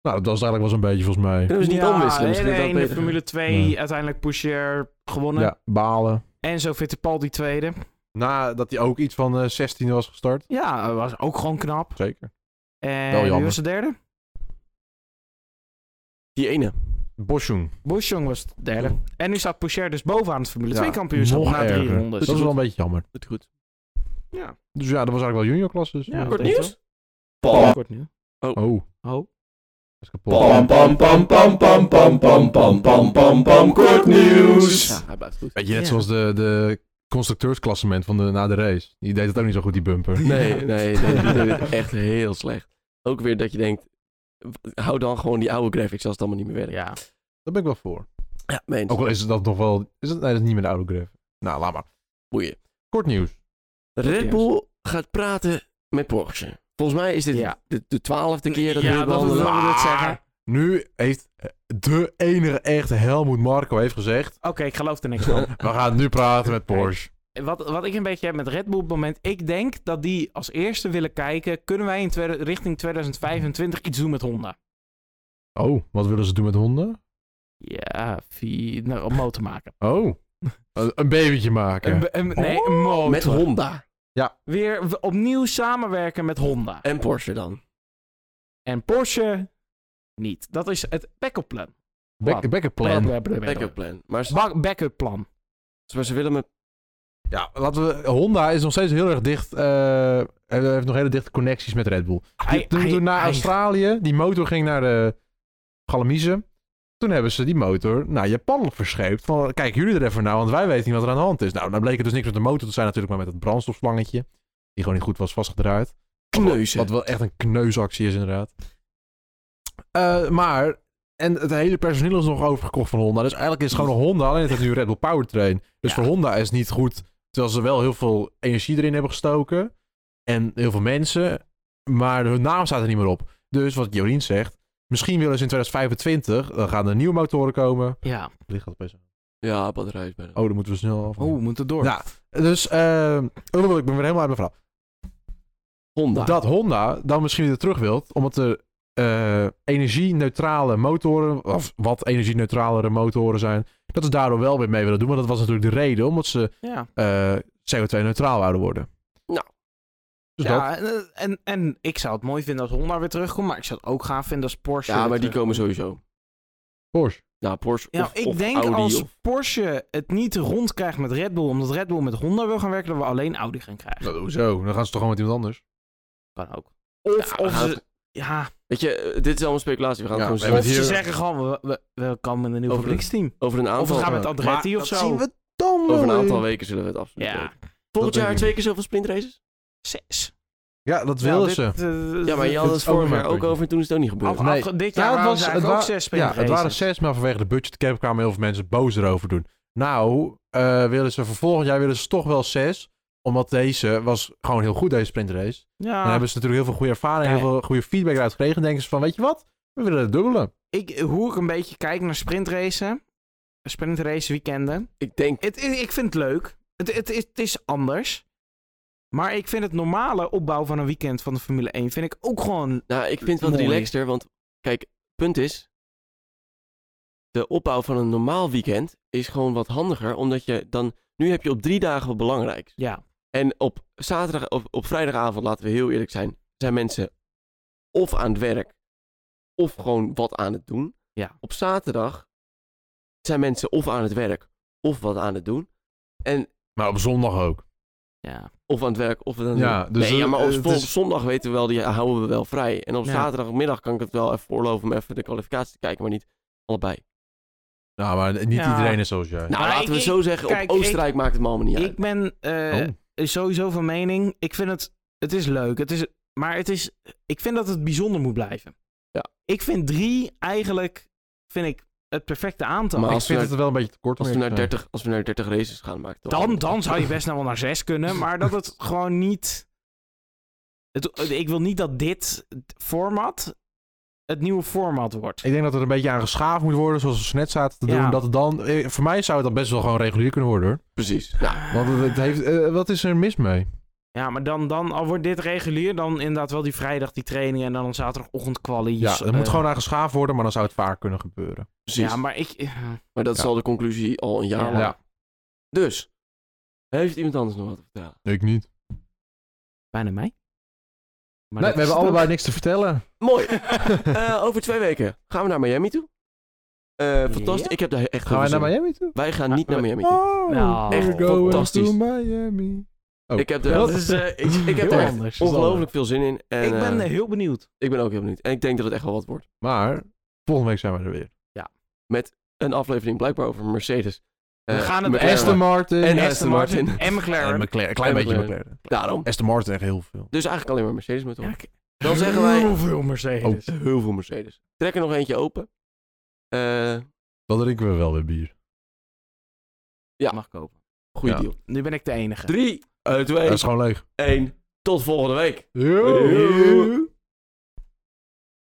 Speaker 2: Nou, dat was eigenlijk wel zo'n beetje volgens mij.
Speaker 1: Kunnen we ze niet
Speaker 3: Ja,
Speaker 1: omwisselen?
Speaker 3: Nee,
Speaker 1: Misschien
Speaker 3: nee,
Speaker 1: dat
Speaker 3: in
Speaker 1: beter
Speaker 3: de
Speaker 1: gaat.
Speaker 3: Formule 2
Speaker 2: Ja.
Speaker 3: uiteindelijk Pusher gewonnen.
Speaker 2: Ja, balen.
Speaker 3: En zo Fittipaldi tweede.
Speaker 2: Nadat hij ook iets van eh 16 was gestart.
Speaker 3: Ja, was ook gewoon knap.
Speaker 2: Zeker. Wel
Speaker 3: En wie
Speaker 2: jammer.
Speaker 3: was de derde?
Speaker 1: Die ene.
Speaker 2: Bosjoen.
Speaker 3: Boschong was de derde. En nu staat Pocher dus bovenaan het Formule
Speaker 2: Ja,
Speaker 3: 2 kampioenschap
Speaker 2: nog
Speaker 3: na drie
Speaker 2: erger.
Speaker 3: rondes.
Speaker 2: dat is wel een beetje jammer.
Speaker 1: Doet goed.
Speaker 3: Ja.
Speaker 2: Dus ja, dat was eigenlijk wel junior klasses.
Speaker 3: Ja,
Speaker 2: Ja.
Speaker 1: Kort
Speaker 3: denk
Speaker 1: nieuws?
Speaker 4: Pam,
Speaker 3: Kort nu.
Speaker 2: Oh,
Speaker 3: Oh.
Speaker 2: dat is kapot.
Speaker 4: pam, pam, pam, pam, pam, pam, pam, pam, pam, pam, pam, kort nieuws.
Speaker 1: Ja, hij blijft goed.
Speaker 2: Weet je, net
Speaker 3: Ja.
Speaker 2: zoals de, de constructeursklassement van de, na de race. Die deed het ook niet zo goed, die bumper.
Speaker 1: Nee, nee, nee, die deed het echt heel slecht. Ook weer dat je denkt, hou dan gewoon die oude graphics als het allemaal niet meer werkt.
Speaker 3: Ja.
Speaker 2: Daar ben ik wel voor.
Speaker 1: Ja, meens.
Speaker 2: Ook al is dat nog wel... Is het, nee, dat is niet meer de oude gref. Nou, laat maar.
Speaker 1: Boeien.
Speaker 2: Kort nieuws.
Speaker 1: Red Bull gaat praten met Porsche. Volgens mij is dit
Speaker 3: Ja.
Speaker 1: de, de twaalfde keer dat
Speaker 3: Ja,
Speaker 1: we
Speaker 3: dat
Speaker 1: dit behandelen.
Speaker 3: we dat zeggen.
Speaker 2: Nu heeft eh, de enige echte Helmoet Marco heeft gezegd...
Speaker 3: Oké, ik geloof er niks van. [LAUGHS]
Speaker 2: We gaan nu praten met Porsche.
Speaker 3: wat, wat ik een beetje heb met Red Bull op het moment. Ik denk dat die als eerste willen kijken. Kunnen wij in tweede- richting 2025 iets doen met Honda?
Speaker 2: Oh, wat willen ze doen met honden?
Speaker 3: Ja, vi- nou, een motor maken.
Speaker 2: Oh, [LAUGHS] een een babytje maken.
Speaker 3: Een, be- een- nee, een motor.
Speaker 1: Met Honda.
Speaker 2: Ja.
Speaker 3: Weer w- opnieuw samenwerken met Honda.
Speaker 1: En Porsche dan.
Speaker 3: En Porsche niet. Dat is het backup plan.
Speaker 2: Back, backup plan.
Speaker 1: Backup plan. Maar ze,
Speaker 3: Ba- Backup plan.
Speaker 1: maar ze willen me...
Speaker 2: Ja, laten we, Honda is nog steeds heel erg dicht. eh, en heeft nog hele dichte connecties met Red Bull.
Speaker 3: Hij-
Speaker 2: toen
Speaker 3: hij-
Speaker 2: toen naar
Speaker 3: hij-
Speaker 2: Australië, die motor ging naar de Galamiezen. Toen hebben ze die motor naar Japan verscheept. Van, kijk jullie er even naar, want wij weten niet wat er aan de hand is. Nou, dan bleek het dus niks met de motor te zijn natuurlijk, maar met het brandstofslangetje. Die gewoon niet goed was vastgedraaid.
Speaker 1: Kneuzen.
Speaker 2: Wat wel echt een kneusactie is inderdaad. Eh, maar, en het hele personeel is nog overgekocht van Honda. Dus eigenlijk is het gewoon een Honda, alleen het heeft nu Red Bull Powertrain. Dus
Speaker 1: Ja.
Speaker 2: voor Honda is het niet goed, terwijl ze wel heel veel energie erin hebben gestoken. En heel veel mensen, maar hun naam staat er niet meer op. Dus wat Jorien zegt, misschien willen ze in 2025, dan gaan er nieuwe motoren komen.
Speaker 3: Ja.
Speaker 2: Ligt dat best
Speaker 1: Ja, batterij is bijna.
Speaker 2: Oh, dan moeten we snel af.
Speaker 3: Oeh, we moeten door.
Speaker 2: Ja, dus, eh, oh, ik ben weer helemaal uit mijn verhaal
Speaker 1: Honda.
Speaker 2: dat Honda dan misschien weer terug wilt, omdat er eh energie-neutrale motoren, of wat energie-neutralere motoren zijn, dat ze daardoor wel weer mee willen doen. Maar dat was natuurlijk de reden, omdat ze
Speaker 3: Ja.
Speaker 2: eh, CO2-neutraal wouden worden.
Speaker 1: Nou.
Speaker 2: Dus dat,
Speaker 3: ja en, eh, en, en ik zou het mooi vinden als Honda weer terugkomt, maar ik zou het ook gaaf vinden als Porsche.
Speaker 1: ja,
Speaker 3: weer
Speaker 1: maar die
Speaker 3: terugkomt.
Speaker 1: komen sowieso.
Speaker 2: Porsche.
Speaker 1: Nou, Porsche
Speaker 3: Ja,
Speaker 1: of,
Speaker 3: ik
Speaker 1: of
Speaker 3: denk
Speaker 1: Audi
Speaker 3: als
Speaker 1: of-
Speaker 3: Porsche het niet rondkrijgt met Red Bull, omdat Red Bull met Honda wil gaan werken, dat we alleen Audi gaan krijgen.
Speaker 2: Nou, hoezo? Dan gaan ze toch gewoon met iemand anders?
Speaker 3: Kan ook.
Speaker 1: Of,
Speaker 3: Ja, we
Speaker 1: of
Speaker 3: gaan
Speaker 1: ze-
Speaker 3: het- Ja,
Speaker 1: Weet je, eh, dit is allemaal speculatie. We gaan
Speaker 2: Ja,
Speaker 1: het
Speaker 2: we
Speaker 1: gewoon
Speaker 3: of
Speaker 1: zien.
Speaker 2: hebben
Speaker 3: ze
Speaker 2: hier-
Speaker 3: zeggen gewoon, we, we, we komen met een nieuw
Speaker 1: Over-
Speaker 3: fabrieksteam.
Speaker 1: Over een
Speaker 3: Of we
Speaker 1: aantal,
Speaker 3: gaan met Andretti
Speaker 2: Maar
Speaker 3: of
Speaker 2: dat
Speaker 3: zo.
Speaker 2: zien we dan wel eh.
Speaker 1: over een aantal
Speaker 2: weer.
Speaker 1: weken zullen we het absoluut
Speaker 3: Ja,
Speaker 1: weten. Volgend
Speaker 2: denk
Speaker 1: jaar
Speaker 2: ik.
Speaker 1: twee keer zoveel sprintraces?
Speaker 3: zes.
Speaker 2: Ja, dat willen
Speaker 3: Nou,
Speaker 2: ze.
Speaker 3: dit, eh,
Speaker 1: Ja, maar je had
Speaker 2: dat
Speaker 1: het
Speaker 2: is ook
Speaker 1: vorig
Speaker 2: een
Speaker 1: jaar ook
Speaker 2: puntje.
Speaker 1: over en toen is het ook niet gebeurd.
Speaker 3: af-
Speaker 2: Nee.
Speaker 3: afge- dit
Speaker 2: Ja,
Speaker 3: jaar
Speaker 2: het
Speaker 3: waren
Speaker 2: was-
Speaker 3: ze
Speaker 2: het
Speaker 3: eigenlijk ook
Speaker 2: wa-
Speaker 3: zes
Speaker 2: Ja,
Speaker 3: sprintraces.
Speaker 2: het waren zes, maar vanwege de budgetcap kwamen heel veel mensen boos erover doen. Nou, eh, willen ze vervolgens, ja, willen ze toch wel zes. Omdat deze was gewoon heel goed, deze sprintrace.
Speaker 3: Ja.
Speaker 2: Dan hebben ze natuurlijk heel veel goede ervaring, heel
Speaker 3: Ja.
Speaker 2: veel goede feedback eruit gekregen. En denken ze van, weet je wat? We willen het dubbelen.
Speaker 3: ik, hoe ik een beetje kijk naar sprintracen, sprintrace weekenden.
Speaker 1: Ik denk,
Speaker 3: Het, i- ik vind het leuk. Het, het, is- het is anders. Maar ik vind het normale opbouw van een weekend van de Formule 1 vind ik ook gewoon...
Speaker 1: nou, ik vind het wat
Speaker 3: Mooi.
Speaker 1: relaxter, want kijk, punt is, de opbouw van een normaal weekend is gewoon wat handiger, omdat je dan, nu heb je op drie dagen wat belangrijks.
Speaker 3: Ja,
Speaker 1: En op zaterdag, op, op vrijdagavond, laten we heel eerlijk zijn, zijn mensen of aan het werk of gewoon wat aan het doen.
Speaker 3: Ja.
Speaker 1: Op zaterdag zijn mensen of aan het werk of wat aan het doen. En
Speaker 2: Maar op zondag ook.
Speaker 3: ja.
Speaker 1: of aan het werk of wat aan het
Speaker 2: Ja,
Speaker 1: doen.
Speaker 2: dus
Speaker 1: nee, ja,
Speaker 2: dat-
Speaker 1: maar op,
Speaker 2: eh, het
Speaker 1: op
Speaker 2: is-
Speaker 1: zondag weten we wel, die houden we wel vrij. En op
Speaker 3: Ja.
Speaker 1: zaterdagmiddag kan ik het wel even voorloven om even de kwalificatie te kijken, maar niet allebei.
Speaker 2: Nou, maar niet
Speaker 3: Ja.
Speaker 2: iedereen is zoals jij.
Speaker 1: Nou,
Speaker 3: Maar
Speaker 1: laten
Speaker 3: ik-
Speaker 1: we het zo zeggen,
Speaker 3: kijk,
Speaker 1: op Oostenrijk maakt het me allemaal niet uit.
Speaker 3: Ik ben eh,
Speaker 2: Oh.
Speaker 3: sowieso van mening, ik vind het... Het is leuk, het is, maar het is, ik vind dat het bijzonder moet blijven.
Speaker 1: Ja.
Speaker 3: Ik vind drie eigenlijk vind ik het perfecte aantal.
Speaker 1: Maar
Speaker 2: ik
Speaker 1: als we
Speaker 2: vind
Speaker 1: naar-
Speaker 2: het wel een beetje te kort.
Speaker 1: als,
Speaker 2: om
Speaker 1: we naar
Speaker 2: eerlijk te
Speaker 1: 30, als we naar 30 races gaan, maakt het wel-
Speaker 3: Dan, dan zou je best nou wel naar zes kunnen, maar dat het [LAUGHS] gewoon niet. Het, ik wil niet dat dit format het nieuwe format wordt.
Speaker 2: zijn. Ik denk dat er een beetje aan geschaafd moet worden, zoals we net zaten te
Speaker 3: Ja.
Speaker 2: doen. Dat het dan, eh, voor mij zou het dan best wel gewoon regulier kunnen worden. hoor.
Speaker 1: Precies. Nou,
Speaker 2: Want het, het heeft, eh, wat is er mis mee?
Speaker 3: Ja, maar dan, dan al wordt dit regulier, dan inderdaad wel die vrijdag die training en dan zaterdagochtend kwalies.
Speaker 2: Ja, er
Speaker 3: eh,
Speaker 2: moet gewoon aan geschaafd worden, maar dan zou het vaak kunnen gebeuren.
Speaker 1: precies.
Speaker 3: Ja, maar ik. eh,
Speaker 1: Maar dat
Speaker 2: Ja.
Speaker 1: is al de conclusie al een jaar
Speaker 3: Ja.
Speaker 1: lang.
Speaker 2: Ja.
Speaker 1: Dus, heeft iemand anders nog wat te vertellen?
Speaker 2: Ik niet.
Speaker 3: bijna mij. Maar
Speaker 2: nee,
Speaker 3: dat
Speaker 2: we hebben
Speaker 3: is het ook.
Speaker 2: allebei niks te
Speaker 1: [LAUGHS]
Speaker 2: vertellen.
Speaker 1: Mooi. Eh, over twee weken gaan we naar Miami toe. Eh, fantastisch.
Speaker 3: Ja.
Speaker 1: Ik heb daar echt
Speaker 2: Gaan wij
Speaker 1: veel
Speaker 2: naar
Speaker 1: zin in.
Speaker 2: Miami toe?
Speaker 1: Wij gaan niet
Speaker 3: Ah,
Speaker 1: naar
Speaker 3: we-
Speaker 1: Miami toe.
Speaker 2: Oh,
Speaker 3: Nou,
Speaker 1: Echt fantastisch.
Speaker 2: Miami. Oh.
Speaker 1: Ik heb er,
Speaker 3: Dat is, eh, ik,
Speaker 1: [LAUGHS] ik heb
Speaker 3: heel
Speaker 1: er echt
Speaker 3: anders.
Speaker 1: ongelooflijk veel zin in. En,
Speaker 3: Ik ben
Speaker 1: eh,
Speaker 3: eh, heel benieuwd.
Speaker 1: ik ben ook heel benieuwd. En ik denk dat het echt wel wat wordt.
Speaker 2: Maar volgende week zijn we er weer.
Speaker 1: Een aflevering blijkbaar over Mercedes. Eh,
Speaker 3: We gaan het
Speaker 1: McLaren.
Speaker 2: Aston Martin.
Speaker 1: En
Speaker 3: Aston
Speaker 1: Aston Martin.
Speaker 3: En McLaren.
Speaker 2: En McLaren. Een klein
Speaker 1: En
Speaker 2: beetje
Speaker 1: McLaren.
Speaker 2: McLaren.
Speaker 1: Daarom.
Speaker 2: Aston Martin echt heel veel.
Speaker 1: Dus eigenlijk alleen maar Mercedes met ons.
Speaker 3: Ja, ik-
Speaker 1: Dan zeggen wij-
Speaker 3: Heel veel
Speaker 2: Oh,
Speaker 3: Mercedes.
Speaker 1: Heel veel Mercedes. Trek er nog eentje open. Eh
Speaker 2: Dan drinken we wel weer bier.
Speaker 1: ja.
Speaker 3: Mag kopen.
Speaker 1: goede
Speaker 2: Ja.
Speaker 1: deal. Eh,
Speaker 3: Nu ben ik de enige.
Speaker 1: 3,
Speaker 2: Dat
Speaker 1: 2,
Speaker 3: eh,
Speaker 2: is gewoon leeg.
Speaker 1: 1. Tot volgende week.
Speaker 2: Yo.
Speaker 1: Yo.